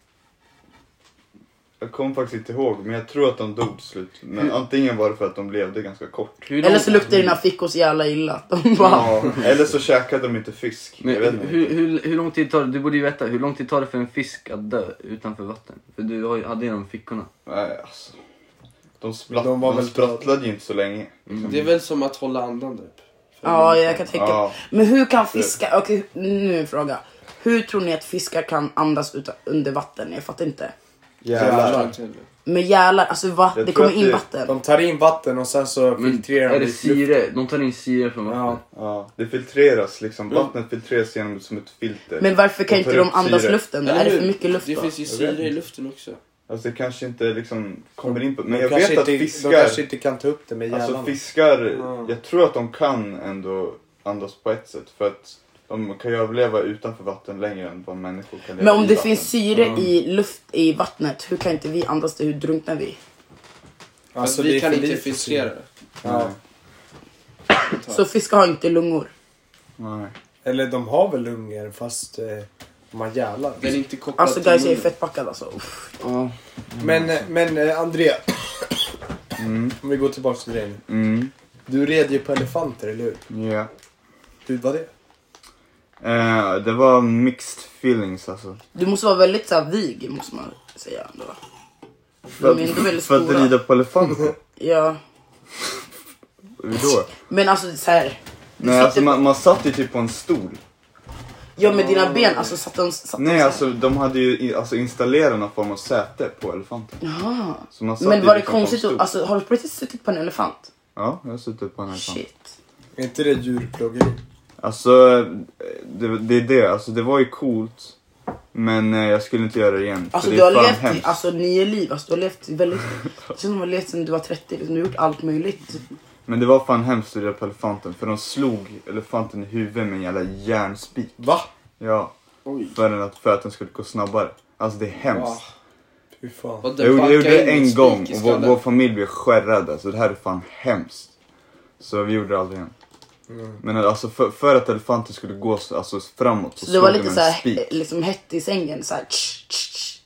[SPEAKER 5] jag kommer faktiskt inte ihåg, men jag tror att de dog till slut. Men antingen var det för att de levde ganska kort.
[SPEAKER 4] Hur
[SPEAKER 3] Eller
[SPEAKER 4] lång-
[SPEAKER 3] så luktar dina fickor så jävla illa. De bara...
[SPEAKER 5] Ja, eller så käkade de inte fisk.
[SPEAKER 4] Men
[SPEAKER 5] jag vet inte.
[SPEAKER 4] hur, hur, hur lång tid tar det? Du borde ju veta. Hur lång tid tar det för en fisk att dö utanför vatten? För du har ju- hade ju de fickorna.
[SPEAKER 5] Nej, alltså. De, splatt,
[SPEAKER 1] De
[SPEAKER 5] de,
[SPEAKER 1] var väl-
[SPEAKER 5] sprattlade ju inte så länge.
[SPEAKER 2] Mm. det är väl som att hålla andan typ.
[SPEAKER 3] Ja, jag kan tänka
[SPEAKER 5] Ja.
[SPEAKER 3] Men hur kan fiskar... Okej, nu är en fråga. Hur tror ni att fiskar kan andas utan, under vatten? Jag fattar inte.
[SPEAKER 2] Jävlar.
[SPEAKER 3] Med gälar, alltså va?
[SPEAKER 5] Jag
[SPEAKER 3] Det
[SPEAKER 5] tror
[SPEAKER 3] kommer
[SPEAKER 5] att
[SPEAKER 3] in
[SPEAKER 5] det-
[SPEAKER 3] vatten.
[SPEAKER 1] De tar in vatten och sen så
[SPEAKER 4] Men
[SPEAKER 1] filtrerar
[SPEAKER 4] är
[SPEAKER 1] de
[SPEAKER 4] det
[SPEAKER 1] ut luft.
[SPEAKER 4] syre? De tar in syre från vattnet.
[SPEAKER 1] Ja.
[SPEAKER 5] Ja, det filtreras liksom.
[SPEAKER 1] Mm.
[SPEAKER 5] Vattnet filtreras genom som ett filter.
[SPEAKER 3] Men varför kan
[SPEAKER 5] De
[SPEAKER 3] inte
[SPEAKER 5] tar
[SPEAKER 3] de
[SPEAKER 5] upp
[SPEAKER 3] andas
[SPEAKER 5] syre.
[SPEAKER 3] luften då? Är det för mycket luft
[SPEAKER 2] Det
[SPEAKER 3] då?
[SPEAKER 2] finns ju
[SPEAKER 5] Jag vet
[SPEAKER 2] syre i luften också.
[SPEAKER 5] Alltså det kanske inte liksom kommer in på... Men
[SPEAKER 1] De
[SPEAKER 5] jag
[SPEAKER 1] kanske
[SPEAKER 5] vet att
[SPEAKER 1] inte,
[SPEAKER 5] fiskar...
[SPEAKER 1] De kanske inte kan ta upp det med hjärnan.
[SPEAKER 5] Alltså fiskar,
[SPEAKER 1] Ja.
[SPEAKER 5] jag tror att de kan ändå andas på ett sätt för att de kan ju överleva utanför vatten längre än vad människor kan leva
[SPEAKER 3] Men om
[SPEAKER 5] i
[SPEAKER 3] det
[SPEAKER 5] vatten.
[SPEAKER 3] finns syre i luft i vattnet, hur kan inte vi andas det? Hur drunknar vi?
[SPEAKER 2] Alltså,
[SPEAKER 1] Alltså, det
[SPEAKER 2] vi
[SPEAKER 1] är
[SPEAKER 2] kan
[SPEAKER 1] för
[SPEAKER 2] inte
[SPEAKER 1] lite
[SPEAKER 2] filtrera
[SPEAKER 1] syre.
[SPEAKER 2] det.
[SPEAKER 1] Ja.
[SPEAKER 3] Så fiskar har inte lungor.
[SPEAKER 5] Nej.
[SPEAKER 1] Eller de har väl lungor fast eh, de har gälar.
[SPEAKER 2] Den är inte kopplad
[SPEAKER 3] Alltså guys, jag är
[SPEAKER 2] munnen.
[SPEAKER 3] fett packad alltså. Uff.
[SPEAKER 4] Ja.
[SPEAKER 1] Men, eh, men eh, Andrea.
[SPEAKER 4] Mm.
[SPEAKER 1] Om vi går tillbaka till dig nu.
[SPEAKER 5] Mm,
[SPEAKER 1] Du red ju på elefanter, eller hur?
[SPEAKER 5] yeah.
[SPEAKER 1] Hur var det?
[SPEAKER 5] Eh, det var mixed feelings alltså.
[SPEAKER 3] Du måste vara väldigt så här, vig, måste man säga ändå.
[SPEAKER 5] För,
[SPEAKER 3] Men de är väldigt
[SPEAKER 5] för att
[SPEAKER 3] stora.
[SPEAKER 5] rida på elefanter?
[SPEAKER 3] Ja.
[SPEAKER 5] Hur då?
[SPEAKER 3] Men alltså så här.
[SPEAKER 5] Nej
[SPEAKER 3] satt
[SPEAKER 5] alltså
[SPEAKER 3] ju-
[SPEAKER 5] man, man satt ju typ på en stol.
[SPEAKER 3] Ja med dina ben, alltså satt de... Satt de så
[SPEAKER 5] Nej
[SPEAKER 3] här?
[SPEAKER 5] alltså de hade ju i- alltså, installerat någon form av säte på elefanten.
[SPEAKER 3] Jaha.
[SPEAKER 5] Så man satt
[SPEAKER 3] Men
[SPEAKER 5] ju
[SPEAKER 3] var det
[SPEAKER 5] liksom på en
[SPEAKER 3] konstigt
[SPEAKER 5] stol.
[SPEAKER 3] att, alltså har du precis suttit på en elefant?
[SPEAKER 5] Ja, jag har suttit på en elefant.
[SPEAKER 3] Shit.
[SPEAKER 1] Är inte det djurplågeri?
[SPEAKER 5] Alltså, det, det är det. Alltså, det var ju coolt. Men eh, jag skulle inte göra det igen.
[SPEAKER 3] Alltså
[SPEAKER 5] för
[SPEAKER 3] du
[SPEAKER 5] det är
[SPEAKER 3] har
[SPEAKER 5] fan
[SPEAKER 3] levt i,
[SPEAKER 5] hemskt.
[SPEAKER 3] alltså nio liv, alltså du har levt väldigt, det känns som du har levt sedan du var 30, liksom, du har gjort allt möjligt.
[SPEAKER 5] Men det var fan hemskt att rida på elefanten. För de slog elefanten i huvudet med en jävla järnspik.
[SPEAKER 1] Va?
[SPEAKER 5] Ja.
[SPEAKER 4] Oj.
[SPEAKER 5] För att, för att den skulle gå snabbare. Alltså det är hemskt.
[SPEAKER 1] Fy fan.
[SPEAKER 2] Och den
[SPEAKER 5] Jag gjorde, jag
[SPEAKER 2] bankar
[SPEAKER 5] gjorde
[SPEAKER 2] in
[SPEAKER 5] det
[SPEAKER 2] med
[SPEAKER 5] en
[SPEAKER 2] spik
[SPEAKER 5] gång
[SPEAKER 2] i
[SPEAKER 5] och vår,
[SPEAKER 2] skallen.
[SPEAKER 5] vår familj blev skärrad. Alltså det här är fan hemskt. Så vi gjorde det aldrig igen. Men alltså för, för att elefanten skulle gå så- alltså, framåt så
[SPEAKER 3] Så du var
[SPEAKER 5] slog
[SPEAKER 3] lite
[SPEAKER 5] de
[SPEAKER 3] så
[SPEAKER 5] med en
[SPEAKER 3] här,
[SPEAKER 5] spik.
[SPEAKER 3] liksom hett i sängen så här. Tsch, tsch, tsch.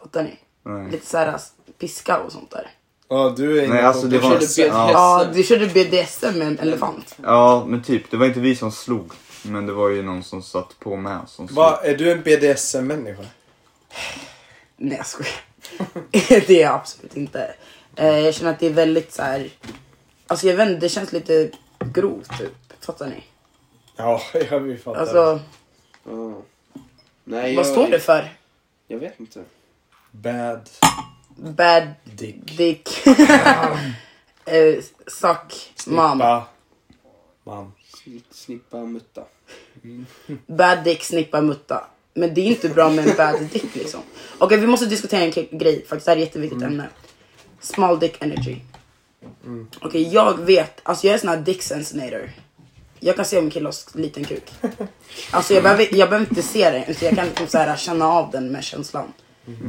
[SPEAKER 3] Fattar ni?
[SPEAKER 5] Nej.
[SPEAKER 3] Lite så här alltså, piska och sånt där.
[SPEAKER 1] Ja, du är inne
[SPEAKER 5] Nej,
[SPEAKER 1] på-
[SPEAKER 5] alltså det
[SPEAKER 1] du
[SPEAKER 5] var...
[SPEAKER 1] körde
[SPEAKER 2] bet-
[SPEAKER 5] Ja,
[SPEAKER 3] Ja,
[SPEAKER 2] SM.
[SPEAKER 3] du körde BDSM med en elefant.
[SPEAKER 5] ja, men typ. Det var inte vi som slog. Men det var ju någon som satt på med oss som slog.
[SPEAKER 1] Va, är du en BDSM-människa?
[SPEAKER 3] Nej jag skojar. det är jag absolut inte. Eh, jag känner att det är väldigt så här. Alltså jag vet inte, det känns lite grovt typ. Fattar ni?
[SPEAKER 1] Ja, jag vill fatta.
[SPEAKER 3] Alltså
[SPEAKER 4] Ja. Nej,
[SPEAKER 3] vad
[SPEAKER 4] jag,
[SPEAKER 3] står det för?
[SPEAKER 4] Jag vet inte.
[SPEAKER 1] Bad
[SPEAKER 3] Bad
[SPEAKER 1] dick.
[SPEAKER 3] dick. eh, suck mom.
[SPEAKER 1] Snippa. Mam.
[SPEAKER 4] Snitt, snippa, mutta.
[SPEAKER 3] Bad dick snippa mutta. Men det är inte bra med en bad dick liksom. Okej vi måste diskutera en ke- grej faktiskt. Det här är ett jätteviktigt ämne. Small dick energy. Okej jag vet, alltså jag är sån här dick sensator. Jag kan se om en kille har sk- liten kuk. Alltså jag behöver, jag behöver inte se den utan jag kan liksom så här, känna av den med känslan.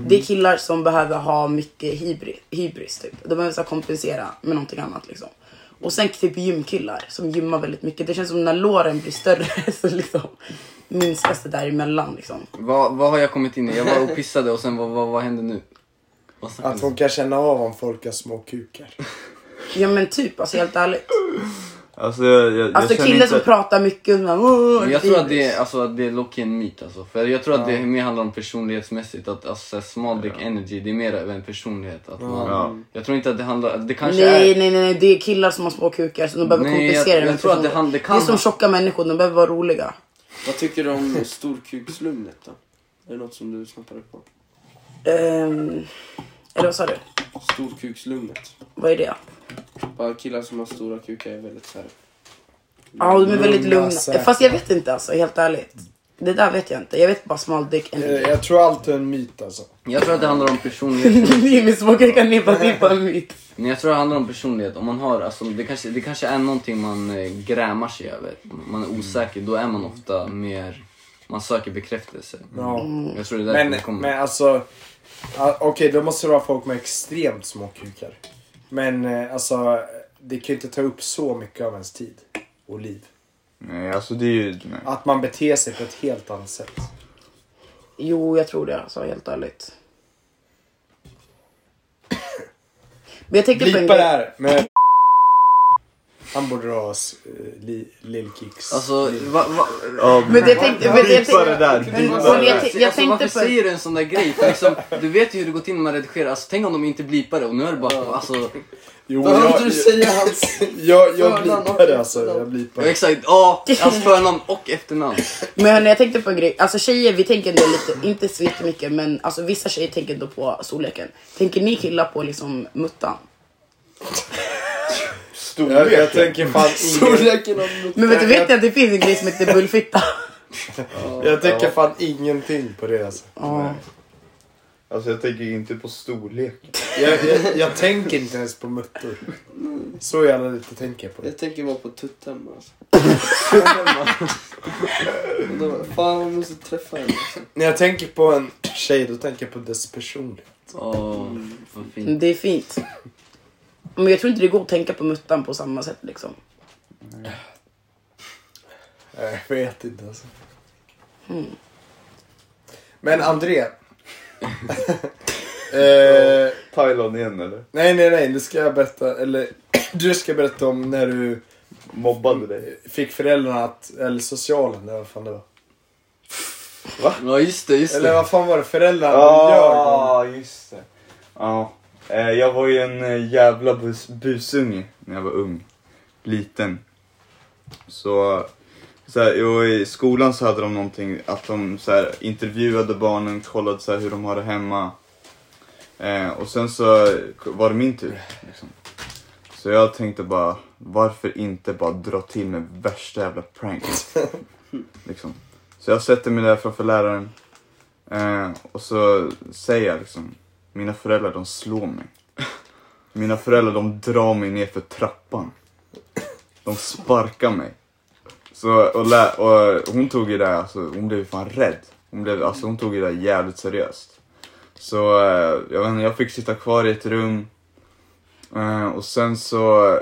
[SPEAKER 3] Det är killar som behöver ha mycket hybris, hybris typ. De behöver så här, kompensera med någonting annat liksom. Och sen typ gymkillar som gymmar väldigt mycket. Det känns som när låren blir större så liksom minskas det däremellan liksom.
[SPEAKER 4] Vad, vad har jag kommit in i? Jag var och pissade och sen vad, vad, vad hände nu? Vad snackar
[SPEAKER 1] Att
[SPEAKER 4] ni
[SPEAKER 1] hon kan känna av om folk har små kukar.
[SPEAKER 3] Ja men typ alltså helt ärligt.
[SPEAKER 5] Alltså jag, jag, jag
[SPEAKER 3] Alltså
[SPEAKER 5] känner
[SPEAKER 3] killar
[SPEAKER 5] inte...
[SPEAKER 3] som pratar mycket och sådär, "Åh,
[SPEAKER 4] Men jag tror att
[SPEAKER 3] hybris."
[SPEAKER 4] det är, alltså, att det är low-key en myt alltså. För jag tror att det mer handlar om personlighetsmässigt. Att alltså, så här, small dick energy, det är mer över en personlighet. Att man,
[SPEAKER 5] Ja.
[SPEAKER 4] Jag tror inte att det handlar, det kanske
[SPEAKER 3] Nej,
[SPEAKER 4] är...
[SPEAKER 3] nej, nej, nej, det är killar som har små kukar så de behöver
[SPEAKER 4] Nej,
[SPEAKER 3] kompensera
[SPEAKER 4] jag- jag
[SPEAKER 3] med
[SPEAKER 4] tror att det
[SPEAKER 3] personer.
[SPEAKER 4] han- det kan
[SPEAKER 3] det är som
[SPEAKER 4] han.
[SPEAKER 3] tjocka människor, de behöver vara roliga.
[SPEAKER 6] Vad tycker du om storkukslugnet då? Är det något som du snappade på?
[SPEAKER 3] Ehm, eller vad sa du?
[SPEAKER 6] Storkukslugnet.
[SPEAKER 3] Vad är det?
[SPEAKER 6] Bara killar som har stora kukar är väldigt såhär...
[SPEAKER 3] Ja, de är väldigt
[SPEAKER 1] Lugna,
[SPEAKER 3] lugna.
[SPEAKER 1] säkra.
[SPEAKER 3] Fast jag vet inte alltså, helt ärligt. Det där vet jag inte. Jag vet bara small dick
[SPEAKER 1] Eh,
[SPEAKER 3] energy.
[SPEAKER 1] Jag tror allt är en myt alltså.
[SPEAKER 4] Jag tror att det handlar om personlighet.
[SPEAKER 3] Det är min små kukar nippa nippa mitt.
[SPEAKER 4] Men jag tror det handlar om personlighet. Om man har, alltså, det, kanske, det kanske är någonting man eh, grämar sig över. Man är osäker, då är man ofta mer... Man söker bekräftelse.
[SPEAKER 1] Ja.
[SPEAKER 4] Jag tror det är därför
[SPEAKER 1] Men,
[SPEAKER 4] det kommer.
[SPEAKER 1] men alltså. ah, Okej, då måste det vara folk med extremt små kukar. Men eh, alltså, det kan ju inte ta upp så mycket av ens tid och liv.
[SPEAKER 5] Nej, alltså det är ju... Nej.
[SPEAKER 1] Att man beter sig på ett helt annat sätt.
[SPEAKER 3] Jo, jag tror det alltså, helt ärligt. Men jag tänkte på en
[SPEAKER 1] Blipa det
[SPEAKER 3] grej.
[SPEAKER 1] här med... Han borde ha s- eh, li, Lill-Kicks.
[SPEAKER 4] Alltså, va, va,
[SPEAKER 5] Ja,
[SPEAKER 3] Men jag tänkte... Men jag
[SPEAKER 5] Blipa det
[SPEAKER 3] tänkte
[SPEAKER 5] där.
[SPEAKER 3] men
[SPEAKER 5] Blipa
[SPEAKER 3] jag,
[SPEAKER 5] det där.
[SPEAKER 3] tänkte- jag
[SPEAKER 4] alltså, varför
[SPEAKER 3] tänkte på...
[SPEAKER 4] säger du en sån där grej? För liksom, du vet ju hur det går till när man redigerar. Alltså, tänk om de inte blipar det och nu är det bara... Alltså,
[SPEAKER 1] Jo,
[SPEAKER 6] Vad
[SPEAKER 1] jag,
[SPEAKER 6] hade du säga hans...
[SPEAKER 1] jag, jag
[SPEAKER 6] förnamn och
[SPEAKER 1] blipar det
[SPEAKER 6] efternamn?
[SPEAKER 1] alltså. Jag blipar.
[SPEAKER 4] ja,
[SPEAKER 1] det.
[SPEAKER 4] exakt. Ja, alltså förnamn och efternamn.
[SPEAKER 3] Men hörni, jag tänkte på en grej. Alltså tjejer, vi tänker ändå lite, inte så jättemycket, men alltså vissa tjejer tänker ändå på storleken. Tänker ni killar på liksom muttan?
[SPEAKER 1] Jag, jag tänker fan ingen,
[SPEAKER 6] Storleken av muttan.
[SPEAKER 3] Men vet du, vet ni att det finns en grej som heter bullfitta?
[SPEAKER 1] jag tänker fan ingenting på det alltså.
[SPEAKER 3] Ja.
[SPEAKER 5] Alltså jag tänker inte på storleken.
[SPEAKER 1] Jag, jag, jag tänker inte ens på muttor. Så jävla lite tänker jag på det.
[SPEAKER 6] Jag tänker bara på tutten alltså. Och då, Fan, jag måste träffa henne. alltså.
[SPEAKER 1] När jag tänker på en tjej, då tänker jag på dess personlighet.
[SPEAKER 4] Åh,
[SPEAKER 6] Mm.
[SPEAKER 4] vad fint.
[SPEAKER 3] Mm, Det är fint. Men jag tror inte det går att tänka på muttan på samma sätt liksom.
[SPEAKER 1] Jag vet inte alltså.
[SPEAKER 6] Hmm.
[SPEAKER 1] Men André. eh,
[SPEAKER 5] Thailand igen eller?
[SPEAKER 1] nej, nej, nej. Nu ska jag berätta, eller du ska berätta om när du eh,
[SPEAKER 5] Mobbade dig?
[SPEAKER 1] fick föräldrarna att, eller socialen, eller vad fan det var.
[SPEAKER 4] Ja, just det, just
[SPEAKER 1] Eller
[SPEAKER 4] det.
[SPEAKER 1] vad fan var det? Föräldrarna gör.
[SPEAKER 5] Ja, just det. Ja. Eh, Jag var ju en eh, jävla bus busunge när jag var ung. Liten. Så, så här, och i skolan så hade de någonting att de så här, intervjuade barnen, kollade så här, hur de har det hemma. Eh, och sen så var det min tur. Liksom. Så jag tänkte bara, varför inte bara dra till med värsta jävla prank? liksom. Så jag sätter mig där framför läraren. Eh, och så säger jag liksom, mina föräldrar de slår mig. Mina föräldrar de drar mig ner för trappan. De sparkar mig. Så, och, lä- och hon tog ju det här, alltså, hon blev fan rädd. Hon, blev, alltså, hon tog ju det här jävligt seriöst. Så eh, jag vet inte, jag fick sitta kvar i ett rum. Eh, och sen så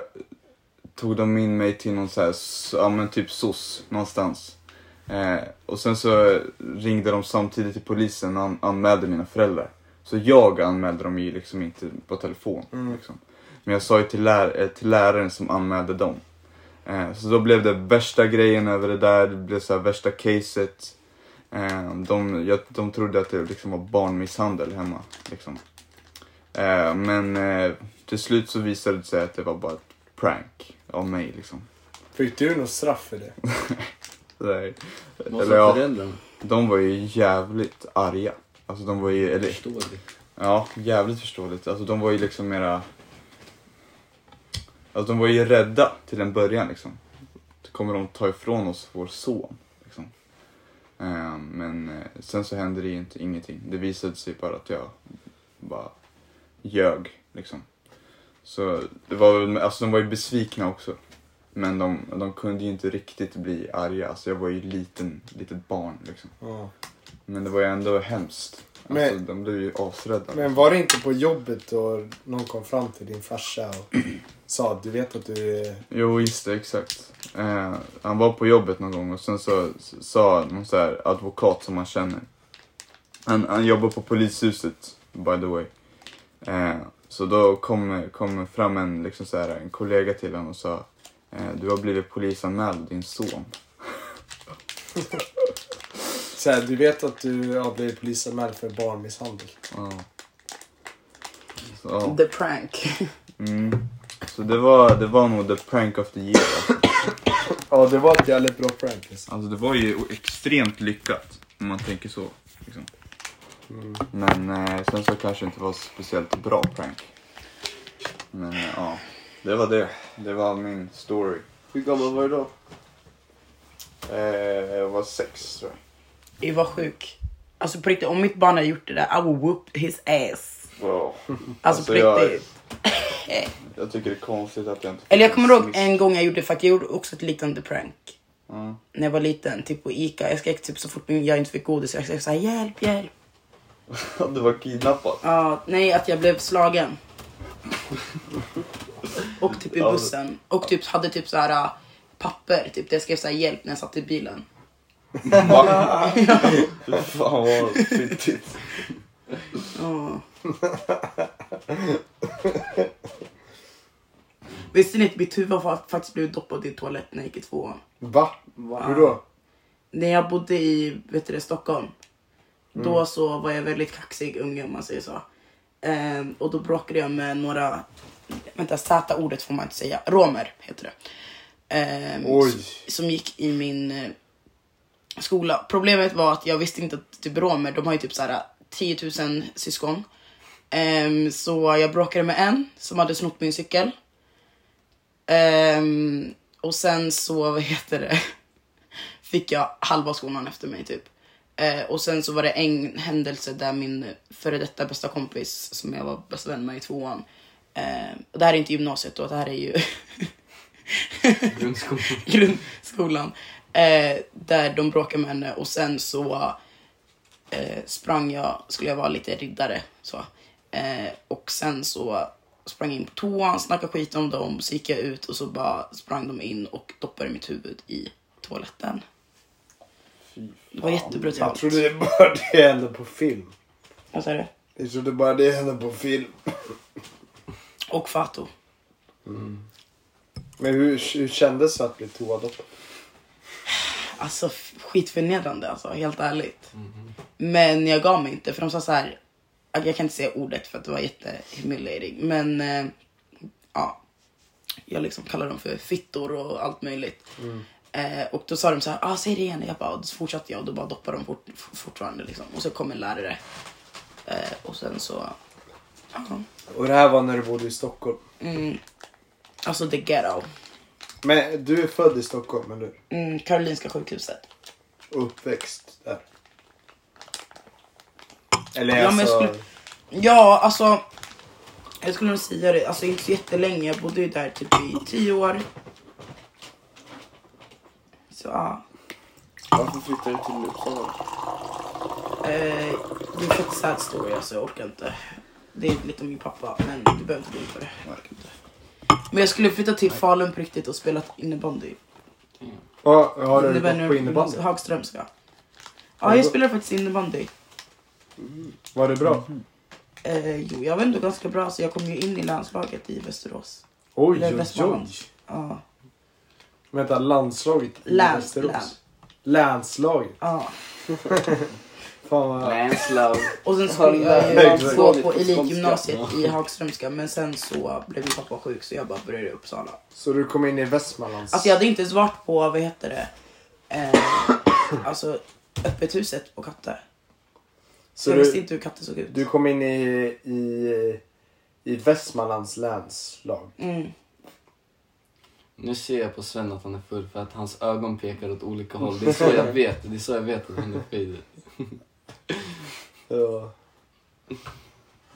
[SPEAKER 5] tog de in mig till någon så här, s- ja men typ SOS någonstans. Eh, och sen så ringde de samtidigt till polisen och an- anmälde mina föräldrar. Så jag anmälde dem ju liksom inte på telefon.
[SPEAKER 1] Mm,
[SPEAKER 5] Liksom. Men jag sa ju till, lär- eh, till läraren som anmälde dem. Eh, så då blev det värsta grejen över det där, det blev så här värsta caset. Eh, de, jag, de trodde att det liksom var barnmisshandel hemma. Liksom. Eh, men eh, till slut så visade det sig att det var bara ett prank av mig. Liksom.
[SPEAKER 1] Fick du något straff för det?
[SPEAKER 5] Så där.
[SPEAKER 4] Vad
[SPEAKER 5] Eller
[SPEAKER 4] sa
[SPEAKER 5] ja.
[SPEAKER 4] föräldrarna?
[SPEAKER 5] De var ju jävligt arga. Alltså de var ju, eller
[SPEAKER 4] Förstår du?
[SPEAKER 5] ja, jävligt förståeligt. Alltså de var ju liksom mera... Alltså de var ju rädda till en början liksom. Kommer de ta ifrån oss vår son? Liksom. Eh, men eh, sen så hände det ju inte, ingenting. Det visade sig bara att jag bara ljög liksom. Så det var väl, alltså de var ju besvikna också. Men de, de kunde ju inte riktigt bli arga. Alltså jag var ju liten, litet barn liksom.
[SPEAKER 1] Ja.
[SPEAKER 5] Men det var ju ändå hemskt.
[SPEAKER 1] Men-
[SPEAKER 5] Alltså, de blev ju asrädda. liksom.
[SPEAKER 1] Men var det inte på jobbet då någon kom fram till din farsa och sa att du vet att du är...
[SPEAKER 5] Jo, just det, exakt. Eh, han var på jobbet någon gång och sen så s- sa någon så här advokat som han känner. Han, han jobbar på polishuset, by the way. Eh, så då kom, kom fram en, liksom så här, en kollega till honom och sa eh, du har blivit polisanmäld, din son.
[SPEAKER 1] Så här, du vet att du har blivit polisanmäld för barnmisshandel.
[SPEAKER 5] Ja. Så, ja.
[SPEAKER 3] The prank.
[SPEAKER 5] mm. så det, var, det var nog the prank of the year. Alltså.
[SPEAKER 1] Ja, det var ett jävligt bra prank. Alltså.
[SPEAKER 5] Alltså det var ju extremt lyckat om man tänker så. Liksom. Men eh, sen så kanske det inte var speciellt bra prank. Men eh, ja, det var det. Det var min story.
[SPEAKER 6] Hur gammal var du då?
[SPEAKER 5] Eh, jag var sex tror jag.
[SPEAKER 3] Jag var sjuk. Alltså på riktigt, om mitt barn hade gjort det där, I would whoop his ass.
[SPEAKER 5] Wow.
[SPEAKER 3] Alltså på
[SPEAKER 5] jag,
[SPEAKER 3] riktigt.
[SPEAKER 5] jag tycker det är konstigt att jag inte...
[SPEAKER 3] Eller jag kommer ihåg
[SPEAKER 5] Smisk.
[SPEAKER 3] en gång jag gjorde, för att jag gjorde också ett liknande prank.
[SPEAKER 5] Ja.
[SPEAKER 3] När jag var liten, typ på Ica. Jag skrek typ så fort min- jag inte fick godis. Jag skrek såhär hjälp, hjälp.
[SPEAKER 5] Att du var kidnappad.
[SPEAKER 3] Ja, nej, att jag blev slagen. Och typ i bussen. Och typ hade typ så här äh, papper. Typ där jag skrev så här hjälp när jag satt i bilen.
[SPEAKER 5] Va? Fy fan vad fittigt.
[SPEAKER 3] Ja. Visste ni att mitt huvud har faktiskt blivit doppat i en toalett när jag gick i tvåan?
[SPEAKER 1] Va? Hur då?
[SPEAKER 3] När jag bodde i vet du det, Stockholm. Då så var jag väldigt kaxig unge om man säger så. Ehm, och då bråkade jag med några, vänta Z-ordet får man inte säga, romer heter det. Ehm,
[SPEAKER 1] Oj.
[SPEAKER 3] s- Som gick i min eh, skola. Problemet var att jag visste inte att typ romer, de har ju typ såhär 10 000 syskon. Ehm, så jag bråkade med en som hade snott min cykel. Ehm, och sen så, vad heter det? fick jag halva skolan efter mig typ. Eh, och sen så var det en händelse där min före detta bästa kompis som jag var bästa vän med i tvåan. Eh, och det här är inte gymnasiet då, det här är ju
[SPEAKER 2] Grundskolan.
[SPEAKER 3] grundskolan. Eh, där de bråkade med henne och sen så eh, sprang jag, skulle jag vara lite riddare så. Eh, och sen så sprang jag in på toan, snackade skit om dem, så gick jag ut och så bara sprang de in och doppade mitt huvud i toaletten. Det var
[SPEAKER 1] Jag
[SPEAKER 3] jättebrutalt.
[SPEAKER 1] trodde bara det hände på film.
[SPEAKER 3] Vad sa du?
[SPEAKER 1] Jag trodde bara det hände på film.
[SPEAKER 3] Och Fato.
[SPEAKER 1] Men hur, hur kändes det att bli toadoppad?
[SPEAKER 3] Alltså f- skitförnedrande alltså, helt ärligt. Men jag gav mig inte för de sa så här. Jag kan inte säga ordet för att det var jättehumiliating. Men eh, ja, jag liksom kallar dem för fittor och allt möjligt. Eh, och då sa de så här, ah, säg det igen. Jag bara, och så fortsatte jag och då bara doppade de fort, f- fortfarande liksom. Och så kom en lärare. Eh, och sen så, ja.
[SPEAKER 1] Och det här var när du bodde i Stockholm.
[SPEAKER 3] Mm. Alltså the ghetto.
[SPEAKER 1] Men du är född i Stockholm, eller hur?
[SPEAKER 3] Mm, Karolinska sjukhuset.
[SPEAKER 1] Och Uppväxt där.
[SPEAKER 5] Eller
[SPEAKER 3] Ja, men jag
[SPEAKER 5] alltså...
[SPEAKER 3] skulle- Ja, alltså. Jag skulle nog säga det. Alltså inte så jättelänge. Jag bodde ju där typ i tio år. Så ja.
[SPEAKER 6] Varför flyttar du till Uppsala?
[SPEAKER 3] Eh, det är faktiskt sad story alltså. Jag orkar inte. Det är lite om min pappa. Men du behöver inte gå in på det. Jag orkar inte. Men jag skulle flytta till Falun på riktigt och spela innebandy.
[SPEAKER 1] Ja, har du
[SPEAKER 3] Innebär nu-
[SPEAKER 1] gått på innebandy?
[SPEAKER 3] Hagströmska.
[SPEAKER 1] Har
[SPEAKER 3] Ja,
[SPEAKER 1] du
[SPEAKER 3] jag
[SPEAKER 1] gått-
[SPEAKER 3] spelar faktiskt innebandy.
[SPEAKER 1] Var det bra?
[SPEAKER 3] Mm. Eh, jo, jag var ändå ganska bra så jag kom ju in i landslaget i Västerås.
[SPEAKER 1] Oj,
[SPEAKER 3] Det är
[SPEAKER 1] oj, oj.
[SPEAKER 3] Västmanland. Ja,
[SPEAKER 1] Vänta, landslaget i
[SPEAKER 3] Läns- län.
[SPEAKER 1] Västerås? Länslaget?
[SPEAKER 3] ja.
[SPEAKER 1] Fan vad...
[SPEAKER 4] Landslove.
[SPEAKER 3] Och sen skulle jag ju
[SPEAKER 1] Exakt.
[SPEAKER 3] gå på elitgymnasiet i Hagströmska men sen så blev min pappa sjuk så jag bara började i Uppsala.
[SPEAKER 1] Så du kom in i Västmanlands...
[SPEAKER 3] Alltså jag hade inte ens varit på, vad heter det, eh, alltså öppet huset på Katte. Så
[SPEAKER 1] så
[SPEAKER 3] jag visste
[SPEAKER 1] du,
[SPEAKER 3] inte hur Katte såg ut.
[SPEAKER 1] du kom in i, i, i Västmanlands länslag?
[SPEAKER 3] Mm.
[SPEAKER 4] Nu ser jag på Sven att han är full för att hans ögon pekar åt olika håll. Det är så jag vet, det är så jag vet att han är full.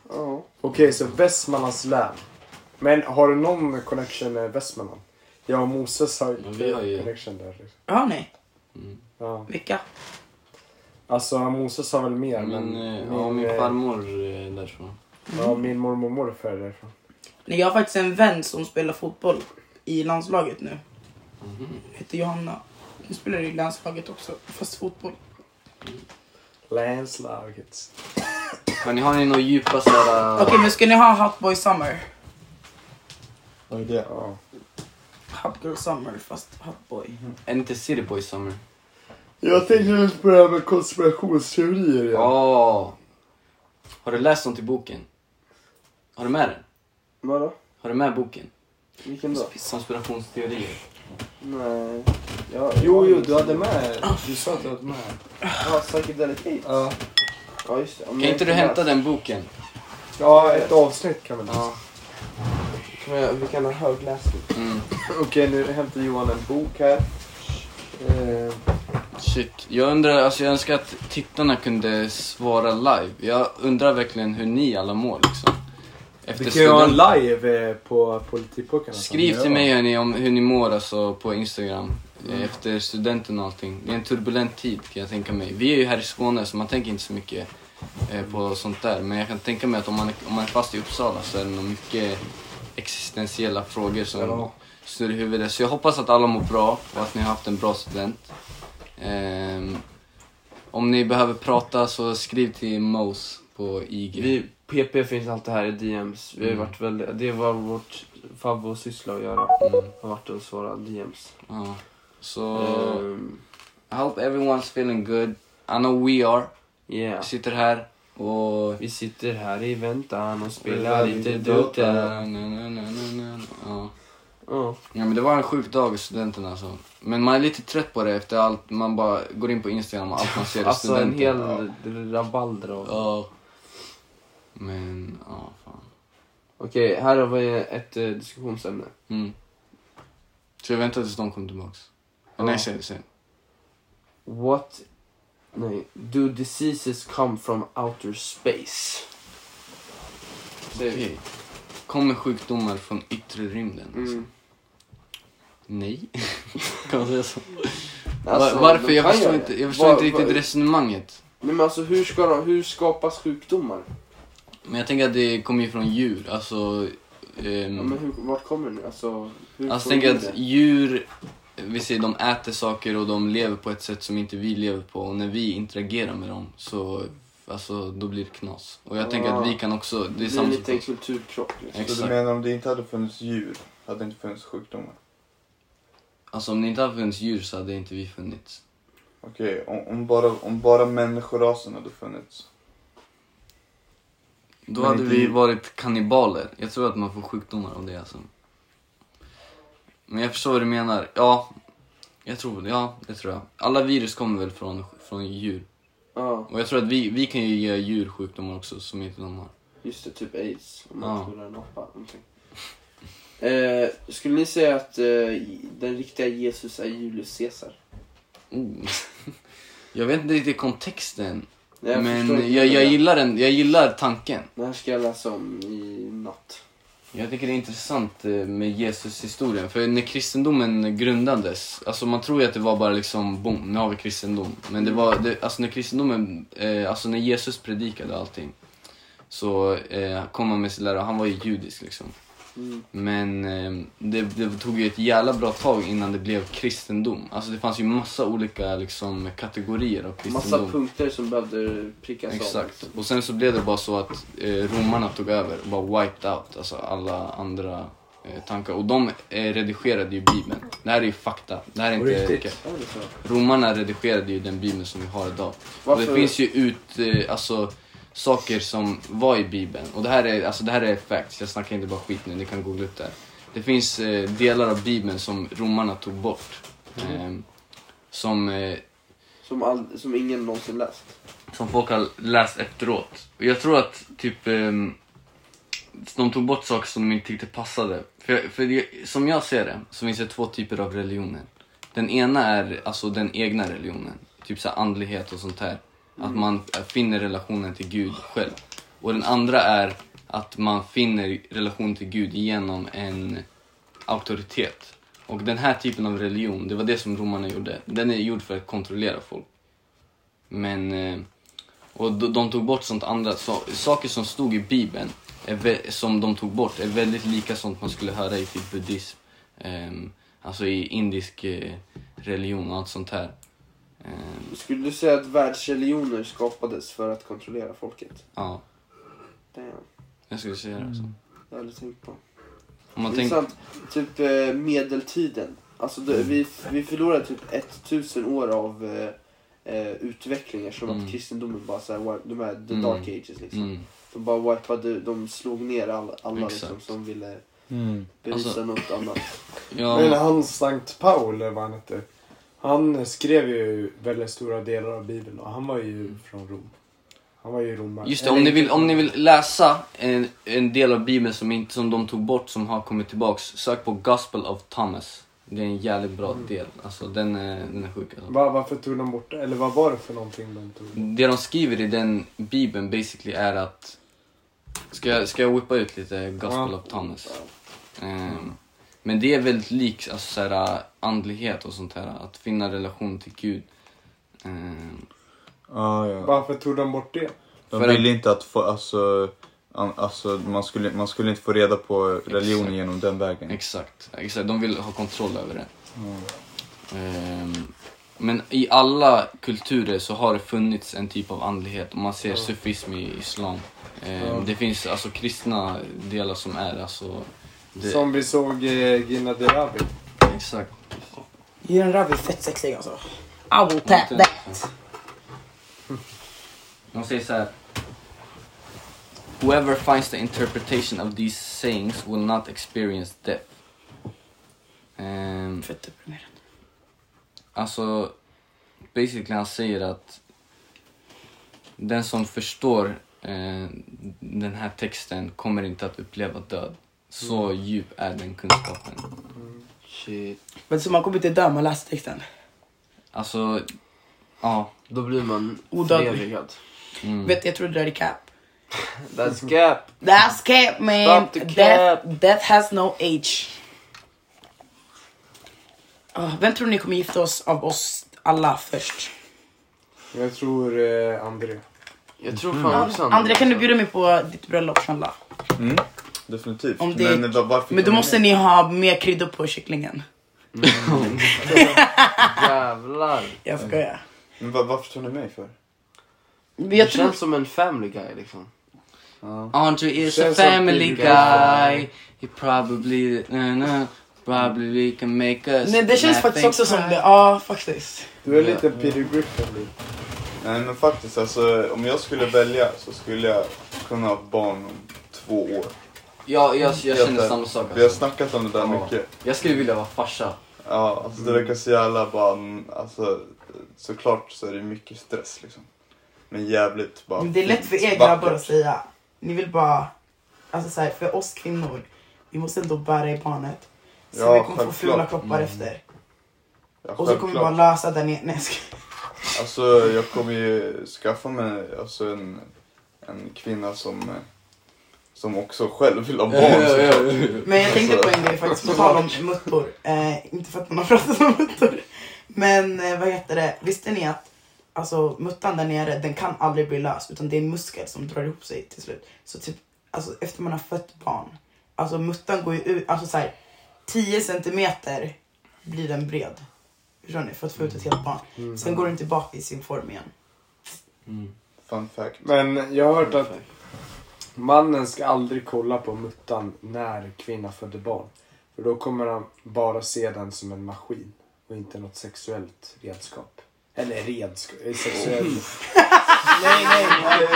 [SPEAKER 1] Ja. Okej, så Västmanlands län. Men har du någon connection med Västmanland? Jag och Moses har
[SPEAKER 4] Men vi har ju-
[SPEAKER 1] connection där. Liksom.
[SPEAKER 3] Har ni?
[SPEAKER 1] Ja.
[SPEAKER 3] Vilka?
[SPEAKER 1] Alltså Moses har väl mer men...
[SPEAKER 4] Min, eh, ja, min
[SPEAKER 1] eh,
[SPEAKER 4] farmor eh, därifrån.
[SPEAKER 1] Ja, min mormor och morfar är därifrån.
[SPEAKER 3] Nej, jag har faktiskt en vän som spelar fotboll i landslaget nu.
[SPEAKER 1] Mhm.
[SPEAKER 3] Heter Johanna. Hon spelar i landslaget också, fast fotboll.
[SPEAKER 1] Länslaget.
[SPEAKER 4] Men ni har ni några djupa eh, såhär...
[SPEAKER 3] Okej, men ska ni ha Hot Boy Summer?
[SPEAKER 5] Vad är det?
[SPEAKER 1] Ja.
[SPEAKER 3] Hot Girl Summer, fast Hot Boy.
[SPEAKER 4] Är ni inte City Boy Summer?
[SPEAKER 1] Jag tänkte just på det här med konspirationsteorier igen.
[SPEAKER 4] Ja. Har du läst sånt i boken? Har du med den?
[SPEAKER 6] Vadå?
[SPEAKER 4] Har du med boken?
[SPEAKER 6] Vilken då?
[SPEAKER 4] Konspirationsteorier.
[SPEAKER 6] Nej. Ja, ja,
[SPEAKER 1] Jo, jo,
[SPEAKER 6] just
[SPEAKER 1] du hade
[SPEAKER 6] det.
[SPEAKER 1] med. Du sa att du hade med.
[SPEAKER 6] Ja, Psychedelic Aids.
[SPEAKER 1] Ja,
[SPEAKER 6] Ja, just det. Ja, men
[SPEAKER 4] Kan inte du
[SPEAKER 6] jag-
[SPEAKER 4] hämta den boken?
[SPEAKER 1] ja ett avsnitt kan vi läsa.
[SPEAKER 6] Kan jag- Vi kan ha högläsning.
[SPEAKER 4] Mm.
[SPEAKER 1] Okej, nu hämtar Johan en bok här. Eh,
[SPEAKER 4] Shit. Jag undrar, alltså jag önskar att tittarna kunde svara live. Jag undrar verkligen hur ni alla mår liksom. Efter
[SPEAKER 1] Vi kan ju ha en
[SPEAKER 4] studenten.
[SPEAKER 1] live eh, på Politipojkarna. sen.
[SPEAKER 4] Skriv till
[SPEAKER 1] Ja.
[SPEAKER 4] mig hörni om hur ni mår alltså på Instagram. eh, Efter studenten och allting. Det är en turbulent tid kan jag tänka mig. Vi är ju här i Skåne så man tänker inte så mycket eh, på sånt där. Men jag kan tänka mig att om man, är- om man är fast i Uppsala så är det nog mycket existentiella frågor som
[SPEAKER 1] Ja.
[SPEAKER 4] snurrar i huvudet. Så jag hoppas att alla mår bra och att ni har haft en bra student. Ehm, om ni behöver prata så skriv till Mose på IG.
[SPEAKER 2] Vi, PP finns alltid här i DMs. Vi har ju varit väldigt, det var vårt favoritsyssla att göra.
[SPEAKER 4] Mm.
[SPEAKER 2] Har varit att svara DMs.
[SPEAKER 4] Ja. Så...
[SPEAKER 2] Ehm,
[SPEAKER 4] I hope everyone's feeling good. I know we are.
[SPEAKER 2] yeah.
[SPEAKER 4] Vi sitter här och...
[SPEAKER 2] Vi sitter här i väntan och
[SPEAKER 4] Ja,
[SPEAKER 2] spelar lite
[SPEAKER 4] lite
[SPEAKER 2] Dota.
[SPEAKER 4] Dota. Na, na, na, na, na. Ja.
[SPEAKER 2] Ja.
[SPEAKER 4] ja men det var en sjuk dag i studenten alltså. Men man är lite trött på det efter allt. Man bara går in på Instagram och allt man ser är
[SPEAKER 2] Alltså en
[SPEAKER 4] studenten.
[SPEAKER 2] hel rabalder av...
[SPEAKER 4] Ja. Men, ja fan.
[SPEAKER 2] Okej, här har vi ett eh, diskussionsämne.
[SPEAKER 4] Mm. Så jag väntar tills de kommer tillbaks.
[SPEAKER 2] Ja.
[SPEAKER 4] Nej sen, sen.
[SPEAKER 2] What... Nej. Do diseases come from outer space?
[SPEAKER 4] Okej. Kommer sjukdomar från yttre rymden? Alltså.
[SPEAKER 6] Mm.
[SPEAKER 4] Nej. kan man säga så?
[SPEAKER 6] Alltså,
[SPEAKER 4] Var- Varför?
[SPEAKER 6] de
[SPEAKER 4] Jag
[SPEAKER 6] kan
[SPEAKER 4] förstår
[SPEAKER 6] göra
[SPEAKER 4] inte,
[SPEAKER 6] det.
[SPEAKER 4] jag förstår
[SPEAKER 6] Var-
[SPEAKER 4] inte riktigt
[SPEAKER 6] var-
[SPEAKER 4] resonemanget.
[SPEAKER 6] Nej, men alltså hur, ska de, hur skapas sjukdomar?
[SPEAKER 4] Men jag tänker att det kommer ju från djur. Alltså, ehm,
[SPEAKER 6] Ja, men hur, vart kommer den? Alltså, hur
[SPEAKER 4] alltså
[SPEAKER 6] får
[SPEAKER 4] tänk
[SPEAKER 6] vi
[SPEAKER 4] att djur, vi säger de äter saker och de lever på ett sätt som inte vi lever på. Och när vi interagerar med dem så, alltså då blir det knas. Och jag tänker att vi kan också, det
[SPEAKER 6] Ah. Det
[SPEAKER 4] är
[SPEAKER 6] blir en
[SPEAKER 4] samma
[SPEAKER 6] liten
[SPEAKER 4] sak.
[SPEAKER 6] kulturkrock. Liksom.
[SPEAKER 5] Så du
[SPEAKER 4] Exakt.
[SPEAKER 5] menar om det inte hade funnits djur, hade det inte funnits sjukdomar?
[SPEAKER 4] Alltså om det inte hade funnits djur så hade inte vi funnits.
[SPEAKER 5] Okej, om, om, bara, om bara människorasen hade funnits.
[SPEAKER 4] Då
[SPEAKER 5] Men
[SPEAKER 4] hade
[SPEAKER 5] inte
[SPEAKER 4] vi
[SPEAKER 5] djur.
[SPEAKER 4] varit kannibaler. Jag tror att man får sjukdomar av det alltså. Men jag förstår vad du menar. Ja, jag tror, ja, det tror jag. Alla virus kommer väl från, från djur.
[SPEAKER 6] Ja,
[SPEAKER 4] Och jag tror att vi, vi kan ju ge djur sjukdomar också som inte de har.
[SPEAKER 6] just det. Typ aids. Om man
[SPEAKER 4] Ja.
[SPEAKER 6] skulle en apa. någonting. Eh, skulle ni säga att eh, den riktiga Jesus är Julius Caesar?
[SPEAKER 4] Oh. Jag vet inte riktigt kontexten.
[SPEAKER 6] Nej, jag förstår
[SPEAKER 4] Men
[SPEAKER 6] inte
[SPEAKER 4] jag, jag,
[SPEAKER 6] det.
[SPEAKER 4] gillar den, jag gillar tanken.
[SPEAKER 6] Det här ska jag läsa om i natt.
[SPEAKER 4] Jag tycker det är intressant eh, med Jesus-historien. För när kristendomen grundades, alltså man tror ju att det var bara liksom boom, nu har vi kristendom. Men det var, det, alltså när kristendomen, eh, alltså när Jesus predikade och allting. Så eh, kom han med sin lära, han var ju judisk liksom.
[SPEAKER 6] Mm.
[SPEAKER 4] Men eh, det, det tog ju ett jävla bra tag innan det blev kristendom. Alltså det fanns ju massa olika liksom kategorier av kristendom.
[SPEAKER 6] Massa punkter som behövde prickas av.
[SPEAKER 4] Exakt.
[SPEAKER 6] liksom.
[SPEAKER 4] Och sen så blev det bara så att eh, romarna tog över och bara wiped out alltså alla andra eh, tankar. Och de eh, redigerade ju bibeln. Det här är ju fakta. Det här är inte...
[SPEAKER 1] Riktigt.
[SPEAKER 6] Ja, det är så.
[SPEAKER 4] Romarna redigerade ju den bibeln som vi har idag. Och
[SPEAKER 6] Varför-
[SPEAKER 4] det finns ju ut, eh, alltså saker som var i bibeln. Och det här är, alltså det här är facts. Jag snackar inte bara skit nu, ni kan googla upp det här. Det finns eh, delar av bibeln som romarna tog bort. Eh, som eh,
[SPEAKER 6] Som, all, som ingen någonsin läst.
[SPEAKER 4] som folk har läst efteråt. Och jag tror att typ ehm, de tog bort saker som de inte tyckte passade. För, jag- för det, som jag ser det så finns det två typer av religioner. Den ena är alltså den egna religionen, typ så här andlighet och sånt här. Att man finner relationen till Gud själv. Och den andra är att man finner relationen till Gud genom en auktoritet. Och den här typen av religion, det var det som romarna gjorde. Den är gjord för att kontrollera folk. Men, eh, och de, de tog bort sånt andra, så, saker som stod i bibeln, är vä- som de tog bort, är väldigt lika sånt man skulle höra i typ buddhism, ehm, alltså i indisk eh, religion och allt sånt här. Ehm,
[SPEAKER 6] Skulle du säga att världsreligioner skapades för att kontrollera folket?
[SPEAKER 4] ja,
[SPEAKER 6] Damn,
[SPEAKER 4] jag skulle säga det. Alltså.
[SPEAKER 6] det har jag aldrig tänkt på.
[SPEAKER 4] Om man
[SPEAKER 6] Det är
[SPEAKER 4] tänker,
[SPEAKER 6] sant. Typ eh, medeltiden. Alltså det, vi, vi förlorade typ 1000 år av eh, eh, utvecklingar som
[SPEAKER 4] Mm.
[SPEAKER 6] att kristendomen bara såhär, wi- de här the
[SPEAKER 4] Mm.
[SPEAKER 6] dark ages liksom.
[SPEAKER 4] mm,
[SPEAKER 6] De bara wipade, de slog ner alla, alla liksom,
[SPEAKER 4] Exakt.
[SPEAKER 6] som ville
[SPEAKER 1] Mm.
[SPEAKER 6] bevisa
[SPEAKER 4] Alltså-
[SPEAKER 6] något annat.
[SPEAKER 1] Jag menar
[SPEAKER 4] ja,
[SPEAKER 1] han Sankt Paul, eller vad han hette. Han skrev ju väldigt stora delar av Bibeln och han var ju från Rom. Han var ju romare.
[SPEAKER 4] just det, om ni vill, om ni vill läsa en, en del av bibeln som, inte, som de tog bort som har kommit tillbaks, sök på Gospel of Thomas. Det är en jävligt bra
[SPEAKER 6] Mm.
[SPEAKER 4] del, alltså den är, den är sjuk alltså.
[SPEAKER 1] Va, varför tog de bort det? Eller vad var det för någonting de tog bort?
[SPEAKER 4] Det de skriver i den bibeln basically är att... Ska jag, ska jag whippa ut lite Gospel
[SPEAKER 1] Ja.
[SPEAKER 4] of Thomas? Ehm, men det är väldigt likt alltså, så här, andlighet och sånt här, att finna relation till Gud. Ehm,
[SPEAKER 5] Ah, Ja, ja.
[SPEAKER 1] Varför tog de bort det?
[SPEAKER 5] De
[SPEAKER 4] För
[SPEAKER 5] ville inte att få, alltså, an, alltså man, skulle, man skulle inte få reda på religionen
[SPEAKER 4] Exakt.
[SPEAKER 5] genom den vägen. Mm.
[SPEAKER 4] Exakt, exakt, de vill ha kontroll över det. Ehm, men i alla kulturer så har det funnits en typ av andlighet. Om man ser sufism i islam. Ehm, Det finns alltså kristna delar som är alltså... Det,
[SPEAKER 1] Som vi såg eh, Gina Dirawi.
[SPEAKER 4] Exakt.
[SPEAKER 3] Göran Ravi är fett sexig alltså. I will tap that.
[SPEAKER 4] De säger så här. Whoever finds the interpretation of these sayings will not experience death. Ehm,
[SPEAKER 3] Fett deprimerande.
[SPEAKER 4] alltså, basically han säger att den som förstår eh, den här texten kommer inte att uppleva död. Så
[SPEAKER 3] Mm.
[SPEAKER 4] djup är den kunskapen.
[SPEAKER 2] Shit.
[SPEAKER 3] Men så man kommer inte dö om man läser texten.
[SPEAKER 4] Alltså, ja.
[SPEAKER 2] Då blir man
[SPEAKER 3] Odödlig.
[SPEAKER 2] förevigad.
[SPEAKER 4] Mm.
[SPEAKER 3] Vet du, jag tror det där är cap.
[SPEAKER 2] That's cap.
[SPEAKER 3] That's cap man!
[SPEAKER 2] Stop the cap.
[SPEAKER 3] Death, death has no age. Ah, vem tror ni kommer gifta oss av oss alla först?
[SPEAKER 1] Jag tror eh, André.
[SPEAKER 2] Jag tror fan också
[SPEAKER 3] André Mm. kan du
[SPEAKER 6] liksom.
[SPEAKER 3] bjuda mig på ditt bröllop Chandla?
[SPEAKER 5] Mm, definitivt.
[SPEAKER 3] Om det-
[SPEAKER 5] Men, va- varför
[SPEAKER 3] Men då
[SPEAKER 5] kom
[SPEAKER 3] måste
[SPEAKER 5] ni...
[SPEAKER 3] ni ha mer kryddor på kycklingen.
[SPEAKER 2] Jävlar.
[SPEAKER 3] Jag skojar.
[SPEAKER 5] Men va- varför tog ni mig för?
[SPEAKER 3] Men
[SPEAKER 2] Det
[SPEAKER 3] jag tror...
[SPEAKER 2] känns som en family guy liksom.
[SPEAKER 4] Andre is a
[SPEAKER 1] Känns som
[SPEAKER 4] family
[SPEAKER 1] typ-
[SPEAKER 4] guy. He probably, na, na, probably can make us.
[SPEAKER 3] Nej, det känns
[SPEAKER 4] laugh
[SPEAKER 3] faktiskt
[SPEAKER 4] and
[SPEAKER 3] också som
[SPEAKER 4] cry.
[SPEAKER 3] det. Ja, faktiskt.
[SPEAKER 1] Du är lite Peter Griffin. lite.
[SPEAKER 5] Nej men faktiskt alltså, om jag skulle välja så skulle jag kunna ha barn om två år.
[SPEAKER 4] Ja, jag, jag känner
[SPEAKER 5] Helt
[SPEAKER 4] samma
[SPEAKER 5] ärligt.
[SPEAKER 4] sak.
[SPEAKER 5] Vi har
[SPEAKER 4] Alltså.
[SPEAKER 5] snackat om det där
[SPEAKER 4] Ja.
[SPEAKER 5] mycket.
[SPEAKER 4] Jag skulle vilja vara farsa.
[SPEAKER 5] Ja, alltså det verkar så jävla bara, mm, alltså såklart så är det mycket stress liksom. Men jävligt bara
[SPEAKER 3] Men det är lätt för er
[SPEAKER 5] fint,
[SPEAKER 3] grabbar
[SPEAKER 5] vackert.
[SPEAKER 3] att säga. Ni vill bara, alltså så här, för oss kvinnor, vi måste ändå bära i barnet. Så
[SPEAKER 5] Ja,
[SPEAKER 3] vi kommer få
[SPEAKER 5] självklart.
[SPEAKER 3] fula kroppar efter.
[SPEAKER 5] Ja,
[SPEAKER 3] Och så kommer vi bara
[SPEAKER 5] självklart.
[SPEAKER 3] lösa den ner. Nej, jag skojar.
[SPEAKER 5] Alltså jag kommer ju skaffa mig alltså, en, en kvinna som, eh, som också själv vill ha barn.
[SPEAKER 4] Ja, ja,
[SPEAKER 5] såklart.
[SPEAKER 4] ja.
[SPEAKER 3] Men jag tänkte på en grej faktiskt, på tal om muttor. Eh, inte för att man har pratat om muttor. Men eh, vad heter det, visste ni att alltså, muttan där nere den kan aldrig bli lös utan det är en muskel som drar ihop sig till slut. Så typ, alltså efter man har fött barn, alltså muttan går ju ut, alltså såhär 10 centimeter blir den bred. Förstår ni? För att få ut ett helt barn. Sen går den tillbaka i sin form igen.
[SPEAKER 5] Fun fact.
[SPEAKER 1] Mm. Men jag har hört att mannen ska aldrig kolla på muttan när kvinnan föder barn. För då kommer han bara se den som en maskin och inte något sexuellt redskap. Eller redskap, sexuellt. nej, nej.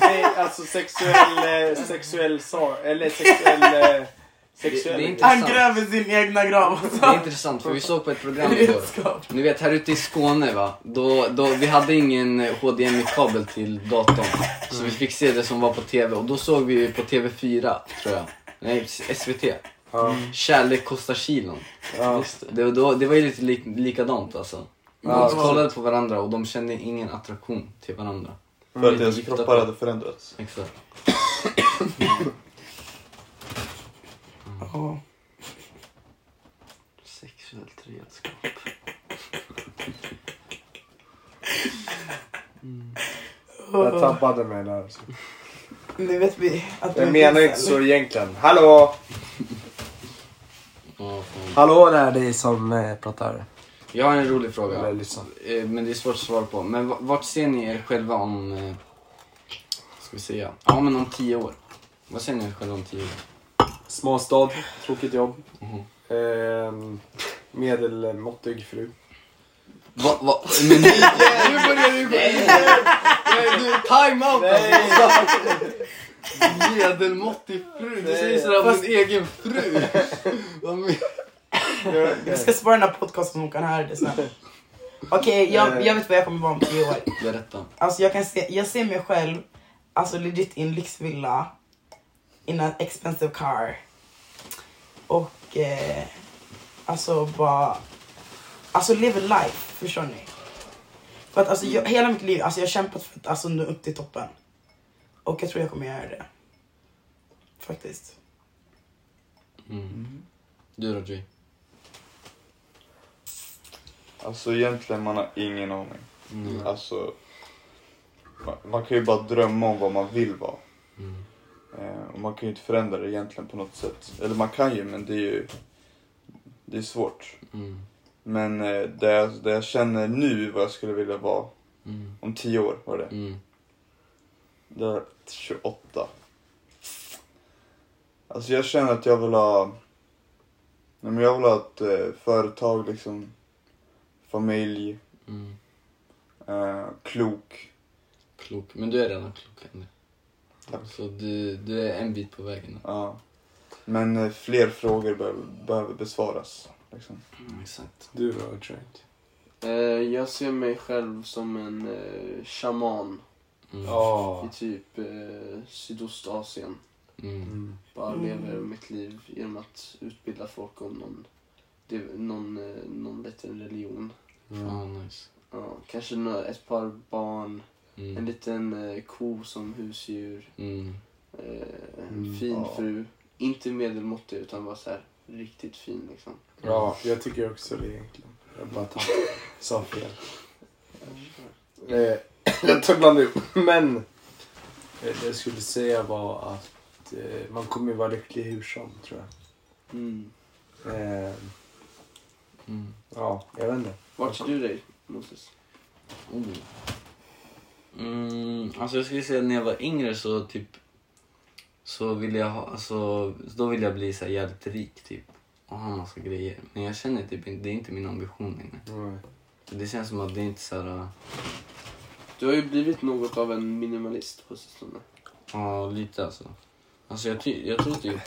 [SPEAKER 1] Nej, alltså sexuell, eh, sexuell sa, eller sexuell, eh,
[SPEAKER 4] Det, det är
[SPEAKER 1] sexuell.
[SPEAKER 3] Han
[SPEAKER 4] intressant.
[SPEAKER 3] gräver sin egna grav alltså.
[SPEAKER 4] Det är intressant för vi såg på ett program igår.
[SPEAKER 3] Redskap.
[SPEAKER 4] Ni vet här ute i Skåne va, då, då, vi hade ingen eh, HDMI-kabel till datorn. Så vi fick se det som var på TV och då såg vi ju på TV4, tror jag. Nej, SVT.
[SPEAKER 1] Ja.
[SPEAKER 4] Kärlek kostar kilon.
[SPEAKER 1] Ja.
[SPEAKER 4] Det, var då, det var ju lite lik, likadant alltså. De
[SPEAKER 1] Ja.
[SPEAKER 4] kollade på varandra och de kände ingen attraktion till varandra.
[SPEAKER 5] För att deras kroppar hade förändrats.
[SPEAKER 4] Exakt.
[SPEAKER 3] Ja.
[SPEAKER 2] Sexuellt redskap.
[SPEAKER 1] Jag tappade mig där. alltså.
[SPEAKER 3] Nu vet vi att
[SPEAKER 1] Jag
[SPEAKER 3] du
[SPEAKER 1] menar
[SPEAKER 3] finns,
[SPEAKER 1] inte
[SPEAKER 3] eller?
[SPEAKER 1] så egentligen. Hallå!
[SPEAKER 4] Ja, fan.
[SPEAKER 1] Hallå där, det är som eh, pratar.
[SPEAKER 4] Jag har en rolig fråga.
[SPEAKER 1] Eller lyssnar.
[SPEAKER 4] Eh, men det är svårt att svara på. Men v- vart ser ni er själva om... eh, Ska vi säga? Ja, men om tio år. Vad ser ni er själva om tio år?
[SPEAKER 1] Småstad, tråkigt jobb.
[SPEAKER 4] Mhm.
[SPEAKER 1] Ehm, medelmåttig fru.
[SPEAKER 4] Va, va? Men nu, nu börjar du gå in! Nej, Du, time out alltså! Medelmåttig fru, du säger sådär om din egen fru. Vad men-
[SPEAKER 3] Vi ska spara den här podcasten som hon kan höra det sen. Okej, jag, jag vet vad jag kommer vara om tio år.
[SPEAKER 4] Berätta.
[SPEAKER 3] Alltså jag kan se, jag ser mig själv, alltså legit i en lyxvilla. In an expensive car. Och eh, alltså bara, alltså live a life, förstår ni? För att alltså jag, hela mitt liv, alltså jag har kämpat för att alltså nå upp till toppen. Och jag tror jag kommer göra det. Faktiskt.
[SPEAKER 4] Mm. Du då Jay?
[SPEAKER 5] Alltså egentligen man har ingen aning.
[SPEAKER 4] Mm.
[SPEAKER 5] Alltså, man, man kan ju bara drömma om vad man vill vara.
[SPEAKER 4] Mm.
[SPEAKER 5] Eh, och man kan ju inte förändra det egentligen på något sätt. Eller man kan ju, men det är ju det är svårt.
[SPEAKER 4] Mm.
[SPEAKER 5] Men eh, det, jag, det jag känner nu vad jag skulle vilja vara
[SPEAKER 4] Mm.
[SPEAKER 5] om tio år var det.
[SPEAKER 4] Mm.
[SPEAKER 5] Det är 28. Alltså jag känner att jag vill ha... Nej, men jag vill ha ett eh, företag liksom. Familj.
[SPEAKER 4] Mm.
[SPEAKER 5] Eh, klok.
[SPEAKER 4] Klok. Men du är redan klok ändå.
[SPEAKER 5] Tack.
[SPEAKER 4] Så du, du är en bit på vägen.
[SPEAKER 5] Ja. Men eh, fler frågor be- behöver besvaras. Liksom.
[SPEAKER 4] Mm, exakt.
[SPEAKER 1] Du då, Trent?
[SPEAKER 2] Eh, jag ser mig själv som en eh, shaman
[SPEAKER 4] Mm.
[SPEAKER 1] Ja.
[SPEAKER 2] i typ eh, Sydostasien.
[SPEAKER 4] Mm.
[SPEAKER 1] Mm.
[SPEAKER 2] Bara
[SPEAKER 3] Mm.
[SPEAKER 2] lever mitt liv genom att utbilda folk om någon, det, någon, eh, någon liten religion.
[SPEAKER 1] Ja.
[SPEAKER 4] Fan, nice.
[SPEAKER 2] Ja, kanske nå- ett par barn, en
[SPEAKER 4] Mm.
[SPEAKER 2] liten eh, ko som husdjur,
[SPEAKER 4] Mm.
[SPEAKER 2] eh, en
[SPEAKER 1] Mm,
[SPEAKER 2] fin
[SPEAKER 5] ja.
[SPEAKER 2] fru. Inte medelmåttig utan bara så här riktigt fin liksom.
[SPEAKER 1] ja, jag tycker också det egentligen. Jag bara tar, sa fel. Eh, jag tog upp. Men eh, det jag skulle säga var att eh, man kommer ju vara lycklig hur som, tror jag.
[SPEAKER 2] Mm.
[SPEAKER 1] Eh,
[SPEAKER 4] Mm.
[SPEAKER 1] ja, jag vet inte.
[SPEAKER 2] Vart ser du dig Moses?
[SPEAKER 4] Oh. Mm, alltså jag skulle säga när jag var yngre så typ så ville jag ha, alltså då ville jag bli så här jävligt rik typ och ha massa grejer. Men jag känner typ inte, det är inte min ambition längre.
[SPEAKER 1] Mm.
[SPEAKER 4] Det känns som att det är inte så här,
[SPEAKER 2] Du har ju blivit något av en minimalist på sistone.
[SPEAKER 4] ja lite alltså. Alltså jag, ty, jag tror typ,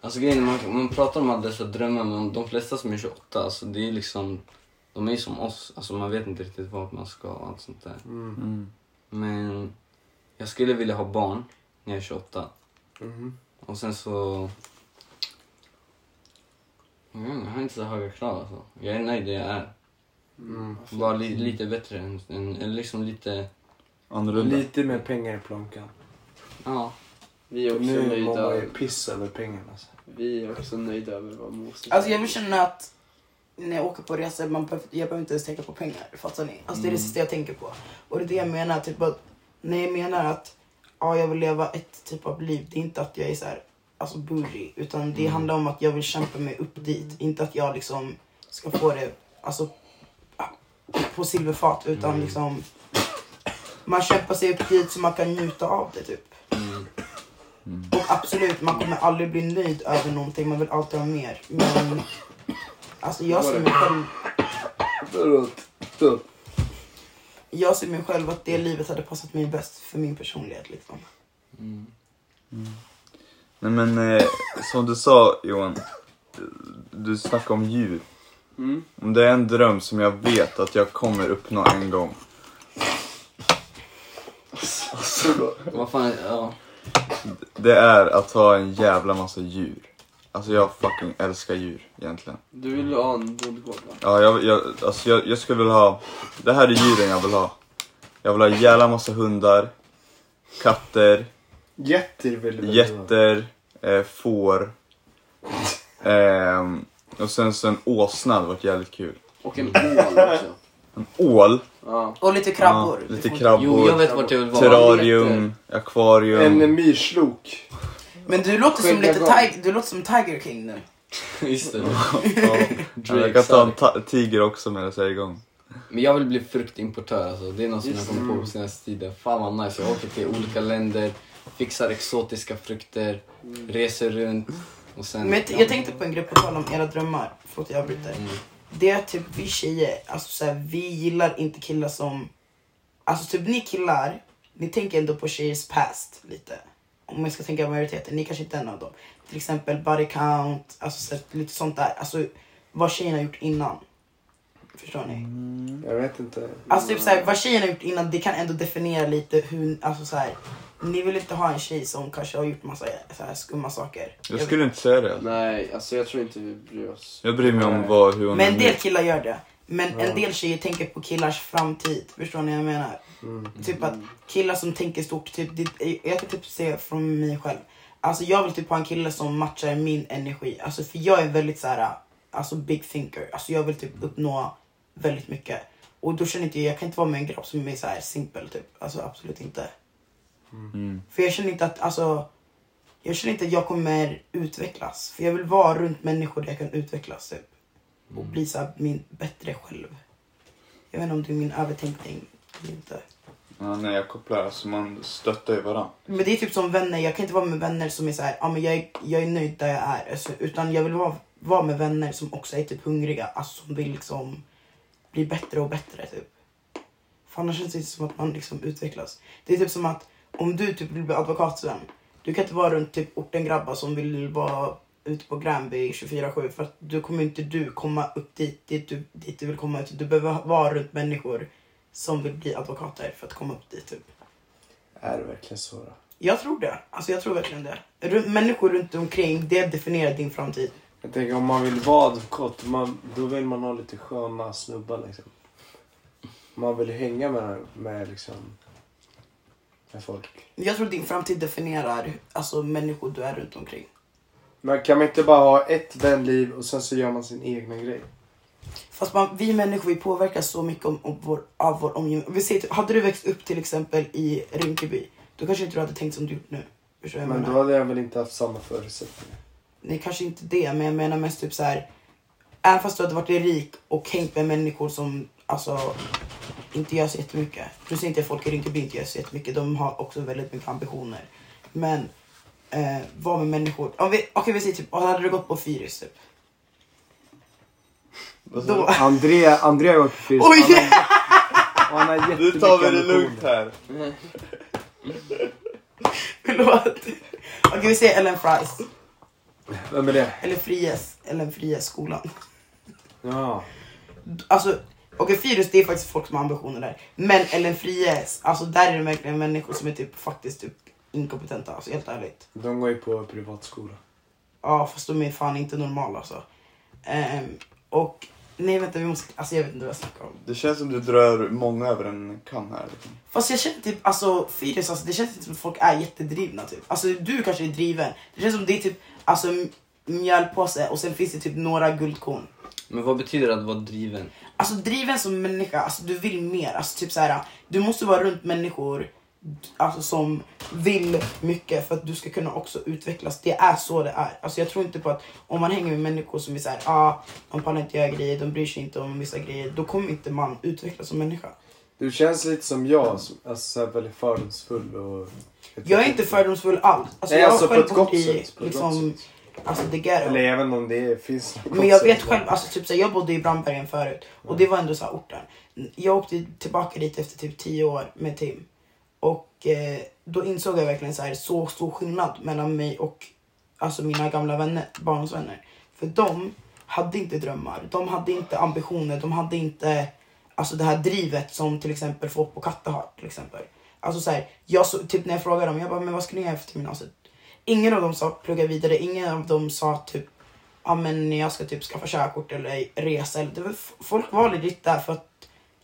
[SPEAKER 4] alltså grejen är, man, man pratar om alla dessa drömmar men de flesta som är 28 alltså det är liksom, de är ju som oss, alltså man vet inte riktigt vart man ska och allt sånt där.
[SPEAKER 1] Mm.
[SPEAKER 4] Men jag skulle vilja ha barn när jag är 28.
[SPEAKER 1] Mhm.
[SPEAKER 4] Och sen så... Jag vet inte, jag har inte så höga krav alltså. Jag är nöjd där jag är.
[SPEAKER 1] Mm.
[SPEAKER 4] Bara li, lite bättre än, än, eller liksom lite,
[SPEAKER 5] Annorlunda.
[SPEAKER 1] Lite mer pengar i plånkan.
[SPEAKER 4] ja.
[SPEAKER 6] Vi är också
[SPEAKER 1] Nu mår
[SPEAKER 6] nöjda.
[SPEAKER 1] man ju piss över pengarna. Alltså.
[SPEAKER 6] Vi är också nöjda över vad Moses
[SPEAKER 3] Alltså jag vill känna att när jag åker på resor, man behöver, jag behöver inte ens tänka på pengar. Fattar ni? Alltså det är det sista jag tänker på. Och det är det jag menar. Typ att, när jag menar att ja, jag vill leva ett typ av liv, det är inte att jag är så här, alltså bougie. Utan det handlar om att jag vill kämpa mig upp dit. Inte att jag liksom ska få det alltså, på silverfat. Utan liksom man kämpar sig upp dit så man kan njuta av det typ.
[SPEAKER 4] Mm.
[SPEAKER 3] Och absolut, man kommer aldrig bli nöjd över någonting. Man vill alltid ha mer. Men alltså jag ser mig själv... Jag ser mig själv att det livet hade passat mig bäst för min personlighet liksom.
[SPEAKER 4] Mm.
[SPEAKER 5] Nej men eh, som du sa Johan, du snackade om djur.
[SPEAKER 6] Mm.
[SPEAKER 5] Om det är en dröm som jag vet att jag kommer uppnå en gång.
[SPEAKER 4] Vad fan, ja.
[SPEAKER 5] Det är att ha en jävla massa djur. Alltså jag fucking älskar djur egentligen.
[SPEAKER 6] Du vill ha en bondgård va?
[SPEAKER 5] Ja, jag, jag, alltså jag, jag skulle vilja ha... Det här är djuren jag vill ha. Jag vill ha en jävla massa hundar, katter,
[SPEAKER 1] Jätter vill du
[SPEAKER 5] getter, eh, får. Ehm, och sen så en åsna, det varit jävligt kul.
[SPEAKER 6] Och en ål också.
[SPEAKER 5] En ål,
[SPEAKER 6] Ja.
[SPEAKER 3] Och lite
[SPEAKER 5] ja,
[SPEAKER 3] krabbor.
[SPEAKER 5] lite
[SPEAKER 4] Jo, jag
[SPEAKER 5] krabbor,
[SPEAKER 4] vet vart jag vill vara.
[SPEAKER 5] terrarium, akvarium.
[SPEAKER 6] En myrslok.
[SPEAKER 3] Men du låter som lite
[SPEAKER 6] Skäggagång.
[SPEAKER 3] tig- du låter som Tiger King nu.
[SPEAKER 4] Just det.
[SPEAKER 5] Ja, jag kan ta en ta- tiger också med det säger igång.
[SPEAKER 4] Men jag vill bli fruktimportör alltså. Det är något som jag kommit på på senaste tiden. Fan vad nice. Jag åker till olika länder, fixar exotiska frukter, reser runt och sen...
[SPEAKER 3] Mm. Men jag, t- jag tänkte på en grej på tal om era drömmar. Förlåt jag avbryter. Det är typ vi tjejer, alltså så här, vi gillar inte killar som... Alltså typ ni killar, ni tänker ändå på tjejers past lite. Om jag ska tänka majoriteten, ni kanske inte är en av dem. Till exempel body count, alltså så här, lite sånt där. Alltså vad tjejen har gjort innan. Förstår ni?
[SPEAKER 6] Jag vet inte.
[SPEAKER 3] Alltså typ såhär, vad tjejen har gjort innan det kan ändå definiera lite hur, alltså såhär. Ni vill inte ha en tjej som kanske har gjort massa så här, skumma saker.
[SPEAKER 5] Jag skulle inte säga det.
[SPEAKER 6] Nej, alltså jag tror inte vi bryr oss.
[SPEAKER 5] Jag bryr mig om vad, hur hon
[SPEAKER 3] Men en
[SPEAKER 5] är
[SPEAKER 3] del
[SPEAKER 5] nu.
[SPEAKER 3] killar gör det. Men en del tjejer tänker på killars framtid. Förstår ni vad jag menar?
[SPEAKER 1] Mm,
[SPEAKER 3] Typ
[SPEAKER 6] Mm.
[SPEAKER 3] att killar som tänker stort. Typ, det, jag kan typ se från mig själv. Alltså jag vill typ ha en kille som matchar min energi. Alltså för jag är väldigt så här, alltså big thinker. Alltså jag vill typ uppnå väldigt mycket. Och då känner inte jag, jag kan inte vara med en grabb som är så här simpel typ. Alltså absolut inte.
[SPEAKER 1] mm.
[SPEAKER 5] Mm.
[SPEAKER 3] För jag känner inte att, alltså. Jag känner inte att jag kommer utvecklas. För jag vill vara runt människor där jag kan utvecklas typ
[SPEAKER 4] Mm.
[SPEAKER 3] och bli så här min bättre själv. Jag vet inte om det är min övertänkning eller inte.
[SPEAKER 5] Ja, nej, jag kopplar. Alltså man stöttar ju varandra.
[SPEAKER 3] Men det är typ som vänner, jag kan inte vara med vänner som är så här, ah, men jag, är, jag är nöjd där jag är. Alltså, utan jag vill vara, vara med vänner som också är typ hungriga, alltså som vill liksom bli bättre och bättre typ. För annars känns det inte som att man liksom utvecklas. Det är typ som att om du typ vill bli advokat sen, du kan inte vara runt typ orten grabbar som vill vara ute på Gränby 24-7 för att du kommer inte du komma upp dit, dit, du, dit du vill komma ut. Du behöver vara runt människor som vill bli advokater för att komma upp dit typ.
[SPEAKER 1] Är det verkligen så då?
[SPEAKER 3] Jag tror det. Alltså jag tror verkligen det. Ru- Människor runt omkring, det definierar din framtid.
[SPEAKER 1] Jag tänker om man vill vara advokat, man, då vill man ha lite sköna snubbar liksom. Man vill hänga med, med liksom... Med folk.
[SPEAKER 3] Jag tror din framtid definierar alltså människor du är runt omkring.
[SPEAKER 1] Men kan man inte bara ha ett vänliv och sen så gör man sin egna grej?
[SPEAKER 3] Fast man, vi människor vi påverkas så mycket om, om vår, av vår omgivning. Vi säger, typ, hade du växt upp till exempel i Rinkeby, då kanske inte du hade tänkt som du gjort nu. Förstår du vad jag
[SPEAKER 1] Men då
[SPEAKER 3] menar?
[SPEAKER 1] hade jag väl inte haft samma förutsättningar.
[SPEAKER 3] Nej, kanske inte det, men jag menar mest typ så här. Även fast du hade varit rik och hängt med människor som alltså inte gör så jättemycket. Du ser inte att folk i Rinkeby inte gör så jättemycket. De har också väldigt mycket ambitioner. Men eh, var med människor. Om vi, okej, vi säger typ, hade du gått på Fyris typ? Då,
[SPEAKER 1] Andrea, Andrea går till
[SPEAKER 3] Oj!
[SPEAKER 1] och han har jättemycket
[SPEAKER 5] Nu tar vi det lugnt här.
[SPEAKER 3] förlåt. Okej, vi säger Ellen Fries.
[SPEAKER 1] Vem är det?
[SPEAKER 3] Eller Fries. Ellen Fries skolan.
[SPEAKER 1] Ja.
[SPEAKER 3] Alltså, okej Fyrus det är faktiskt folk som har ambitioner där. Men Ellen Fries, alltså där är det verkligen människor som är typ faktiskt typ inkompetenta. Alltså helt ärligt.
[SPEAKER 1] De går ju på privatskola.
[SPEAKER 3] Ja fast de är fan inte normala alltså. Ehm, och nej vänta vi måste, alltså jag vet inte vad jag snackar om.
[SPEAKER 5] Det känns som du drar många över en kam här. Liksom.
[SPEAKER 3] Fast jag känner typ, alltså Fyrus, alltså, det känns inte som att folk är jättedrivna typ. Alltså du kanske är driven. Det känns som det är typ, alltså m- mjölpåse och sen finns det typ några guldkorn.
[SPEAKER 4] Men vad betyder det att vara driven?
[SPEAKER 3] Alltså driven som människa, alltså du vill mer. Alltså typ så här, du måste vara runt människor alltså, som vill mycket för att du ska kunna också utvecklas. Det är så det är. Alltså jag tror inte på att om man hänger med människor som är så här, ah, de pallar inte göra grejer, de bryr sig inte om vissa grejer, då kommer inte man utvecklas som människa.
[SPEAKER 1] Du känns lite som jag, som, alltså så här väldigt fördomsfull och...
[SPEAKER 3] Jag är inte fördomsfull alls. Alltså,
[SPEAKER 1] Nej,
[SPEAKER 3] jag
[SPEAKER 1] alltså
[SPEAKER 3] har
[SPEAKER 1] på
[SPEAKER 3] själv
[SPEAKER 1] ett
[SPEAKER 3] gått
[SPEAKER 1] gott
[SPEAKER 3] i
[SPEAKER 1] sätt. På ett gott
[SPEAKER 3] liksom,
[SPEAKER 1] sätt.
[SPEAKER 3] alltså the ghetto.
[SPEAKER 1] Eller även om det finns något
[SPEAKER 3] Men jag
[SPEAKER 1] sätt,
[SPEAKER 3] vet själv, alltså typ såhär, jag bodde i Brandbergen förut och det var ändå så här orten. Jag åkte tillbaka dit efter typ 10 år med Tim. Och eh, då insåg jag verkligen så, här, så stor skillnad mellan mig och alltså, mina gamla vänner, barndomsvänner. För de hade inte drömmar, de hade inte ambitioner, de hade inte alltså, det här drivet som till exempel folk på Katta har. Till exempel. Alltså, så här, jag, så, typ när jag frågade dem, jag bara, men vad ska ni göra efter gymnasiet? Ingen av dem sa plugga vidare, ingen av dem sa typ ja men jag ska typ skaffa körkort eller resa. Eller, det var, folk var legit där för att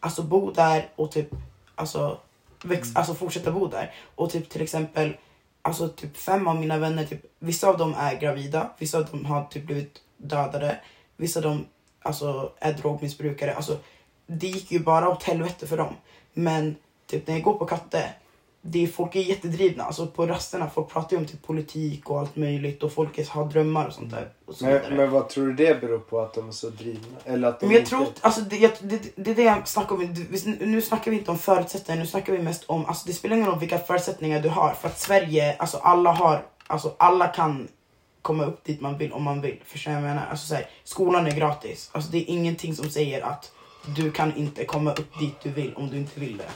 [SPEAKER 3] alltså, bo där och typ alltså, väx,
[SPEAKER 1] Mm.
[SPEAKER 3] alltså, fortsätta bo där. Och typ till exempel alltså, typ fem av mina vänner, typ, vissa av dem är gravida, vissa av dem har typ blivit dödade, vissa av dem alltså, är drogmissbrukare. Alltså, det gick ju bara åt helvete för dem. Men typ när jag går på Katte, det är, folk är jättedrivna. Alltså på rasterna, folk pratar ju om typ politik och allt möjligt och folk är- har drömmar och sånt där. Och så vidare.
[SPEAKER 1] Men, men vad tror du det beror på att de är så drivna? Eller att de
[SPEAKER 3] Men jag
[SPEAKER 1] inte-
[SPEAKER 3] tror, alltså det, jag, det, det är det jag snackar om. Vi- Nu snackar vi inte om förutsättningar, nu snackar vi mest om, alltså det spelar ingen roll vilka förutsättningar du har. För att Sverige, alltså alla har, alltså alla kan komma upp dit man vill om man vill. Förstår jag vad jag menar? Alltså så här, skolan är gratis. Alltså det är ingenting som säger att du kan inte komma upp dit du vill om du inte vill det.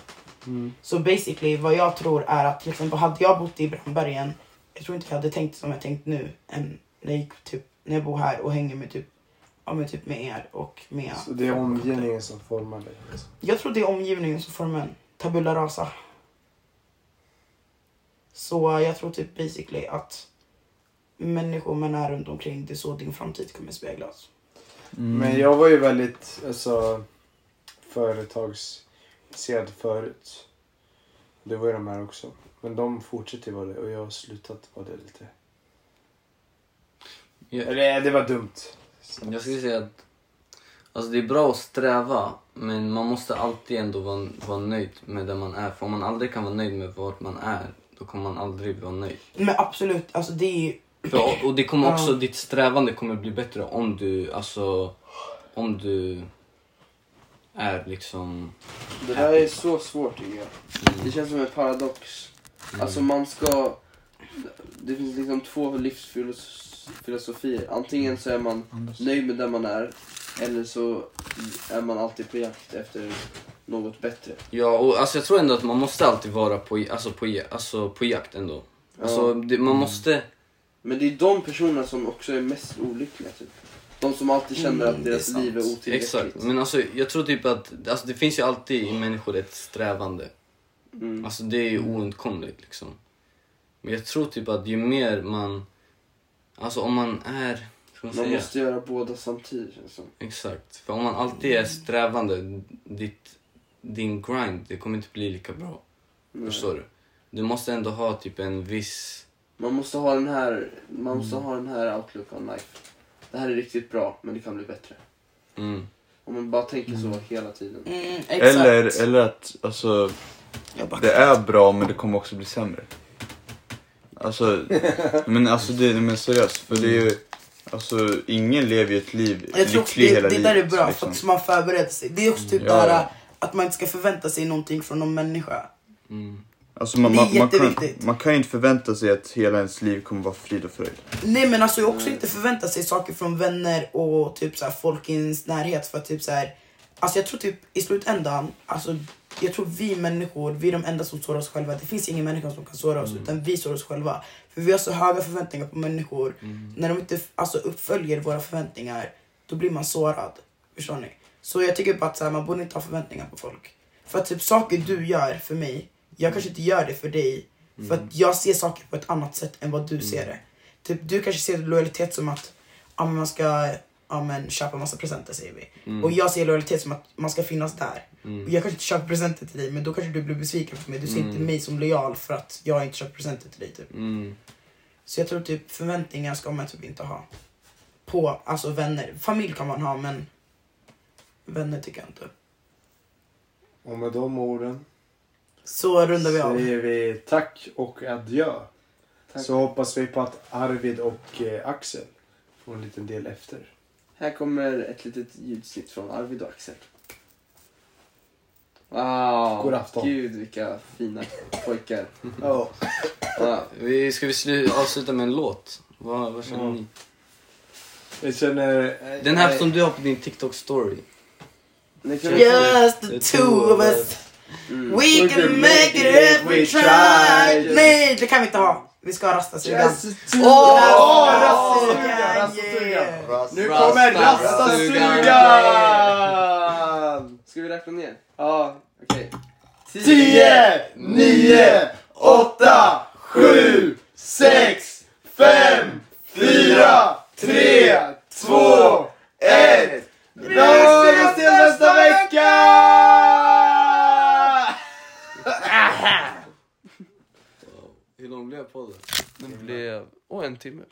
[SPEAKER 1] Mm.
[SPEAKER 3] Så basically vad jag tror är att till exempel hade jag bott i Brandbergen, jag tror inte jag hade tänkt som jag tänkt nu än när jag, gick, typ, när jag bor här och hänger med typ, ja, men typ med er och med...
[SPEAKER 1] Så det är omgivningen som formar dig. Liksom.
[SPEAKER 3] Jag tror det är omgivningen som formar en tabula rasa. Så jag tror typ basically att människor man är runt omkring, det är så din framtid kommer speglas.
[SPEAKER 5] Mm.
[SPEAKER 1] Men jag var ju väldigt alltså, företagsintresserad förut. Det var ju de här också. Men de fortsätter ju vara det och jag har slutat vara det lite.
[SPEAKER 4] Jag-
[SPEAKER 1] Eller det var dumt.
[SPEAKER 4] Jag skulle säga att alltså det är bra att sträva men man måste alltid ändå vara, vara nöjd med där man är. För om man aldrig kan vara nöjd med vart man är då kommer man aldrig vara nöjd.
[SPEAKER 3] Men absolut, alltså det är ju...
[SPEAKER 4] För, och det kommer också,
[SPEAKER 3] Ja.
[SPEAKER 4] ditt strävande kommer bli bättre om du, alltså, om du är liksom... mm.
[SPEAKER 6] Det där är så svårt tycker jag. Det känns som en paradox. Alltså man ska... Det finns liksom två livsfilosofier. Antingen så är man nöjd med där man är eller så är man alltid på jakt efter något bättre.
[SPEAKER 4] Ja, och alltså jag tror ändå att man måste alltid vara på, alltså på, alltså på jakt ändå. Alltså, det,
[SPEAKER 6] Mm.
[SPEAKER 4] man måste...
[SPEAKER 6] Men det är de personerna som också är mest olyckliga typ. De som alltid känner att deras liv är otillräckligt.
[SPEAKER 4] Exakt, men alltså jag tror typ att alltså, det finns ju alltid i människor ett strävande.
[SPEAKER 6] Mm.
[SPEAKER 4] Alltså det är ju oundkomligt liksom. Men jag tror typ att ju mer man, alltså om man är, ska man
[SPEAKER 6] Man
[SPEAKER 4] säga?
[SPEAKER 6] måste göra båda samtidigt liksom. känns det som.
[SPEAKER 4] Exakt, för om man alltid är strävande, ditt, din grind, det kommer inte bli lika bra.
[SPEAKER 6] Nej.
[SPEAKER 4] Förstår du? Du måste ändå ha typ en viss,
[SPEAKER 6] Man måste ha den här, man måste ha den här outlook on life. Det här är riktigt bra, men det kan bli bättre.
[SPEAKER 4] mm,
[SPEAKER 6] Om man bara tänker så hela tiden.
[SPEAKER 3] Mm, exakt.
[SPEAKER 5] Eller, eller att alltså,
[SPEAKER 3] Jag bara,
[SPEAKER 5] det är bra men det kommer också bli sämre. Alltså, men alltså det, men seriöst. För det är ju, alltså ingen lever ju ett liv
[SPEAKER 3] jag tror också
[SPEAKER 5] lycklig
[SPEAKER 3] det,
[SPEAKER 5] hela
[SPEAKER 3] det
[SPEAKER 5] livet.
[SPEAKER 3] där är bra, för
[SPEAKER 5] liksom. Mm,
[SPEAKER 3] att man förbereder sig. Det är också typ
[SPEAKER 5] Ja,
[SPEAKER 3] det här
[SPEAKER 5] ja.
[SPEAKER 3] att man inte ska förvänta sig någonting från någon människa.
[SPEAKER 4] mm.
[SPEAKER 5] Alltså, man,
[SPEAKER 3] det är
[SPEAKER 5] man, man, kan,
[SPEAKER 3] jätteviktigt.
[SPEAKER 5] man kan ju inte förvänta sig att hela ens liv kommer vara frid och fröjd.
[SPEAKER 3] Nej men alltså också inte förvänta sig saker från vänner och typ så här folk i ens närhet för att typ så här. Alltså jag tror typ i slutändan, alltså jag tror vi människor, vi är de enda som sårar oss själva. Det finns ingen människa som kan såra oss
[SPEAKER 5] Mm.
[SPEAKER 3] utan vi sårar oss själva. För vi har så höga förväntningar på människor. När de inte alltså, uppföljer våra förväntningar, då blir man sårad. Förstår ni? Så jag tycker bara att så här, man borde inte ha förväntningar på folk. För att typ saker du gör för mig, jag kanske inte gör det för dig. För att jag ser saker på ett annat sätt än vad du ser det. Typ, du kanske ser lojalitet som att ja, men man ska ja, men, köpa massa presenter säger vi.
[SPEAKER 4] mm,
[SPEAKER 3] Och jag ser lojalitet som att man ska finnas där. Och jag kanske inte köper presenter till dig men då kanske du blir besviken på mig. Du ser inte mig som lojal för att jag inte köper presenter till dig. Typ.
[SPEAKER 4] Mm.
[SPEAKER 3] Så jag tror typ förväntningar ska man typ inte ha. På, alltså vänner. Familj kan man ha men vänner tycker jag inte.
[SPEAKER 1] Och med de orden
[SPEAKER 3] Så rundar vi av.
[SPEAKER 1] säger vi tack och adjö. Så hoppas vi på att Arvid och eh, Axel får en liten del efter.
[SPEAKER 2] Här kommer ett litet ljudsnitt från Arvid och Axel. Wow,
[SPEAKER 1] God afton.
[SPEAKER 2] gud vilka fina pojkar.
[SPEAKER 1] Ja.
[SPEAKER 2] Ja,
[SPEAKER 4] Vi, ska vi slu- avsluta med en låt? Vad, vad känner ni?
[SPEAKER 1] Jag känner... eh,
[SPEAKER 4] Den här
[SPEAKER 1] eh,
[SPEAKER 4] som du har på din TikTok-story.
[SPEAKER 2] det kan vi-
[SPEAKER 3] Just the two of us.
[SPEAKER 2] Mm.
[SPEAKER 3] We can make it if we try. Nej, det kan vi inte ha. Vi ska ha rastasugan.
[SPEAKER 1] Åh,
[SPEAKER 3] Rastasugan,
[SPEAKER 1] rastasugan,
[SPEAKER 3] yeah.
[SPEAKER 1] rastasugan. Nu
[SPEAKER 4] Rasta,
[SPEAKER 1] kommer
[SPEAKER 4] rastasugan.
[SPEAKER 1] rastasugan!
[SPEAKER 2] Ska vi räkna ner? Ja, okej.
[SPEAKER 1] 10, 9, 8, 7, 6, 5, 4, 3, 2, 1. Vi ses nästa vecka!
[SPEAKER 4] Hur lång blev podden?
[SPEAKER 2] Det blev... Åh, en timme.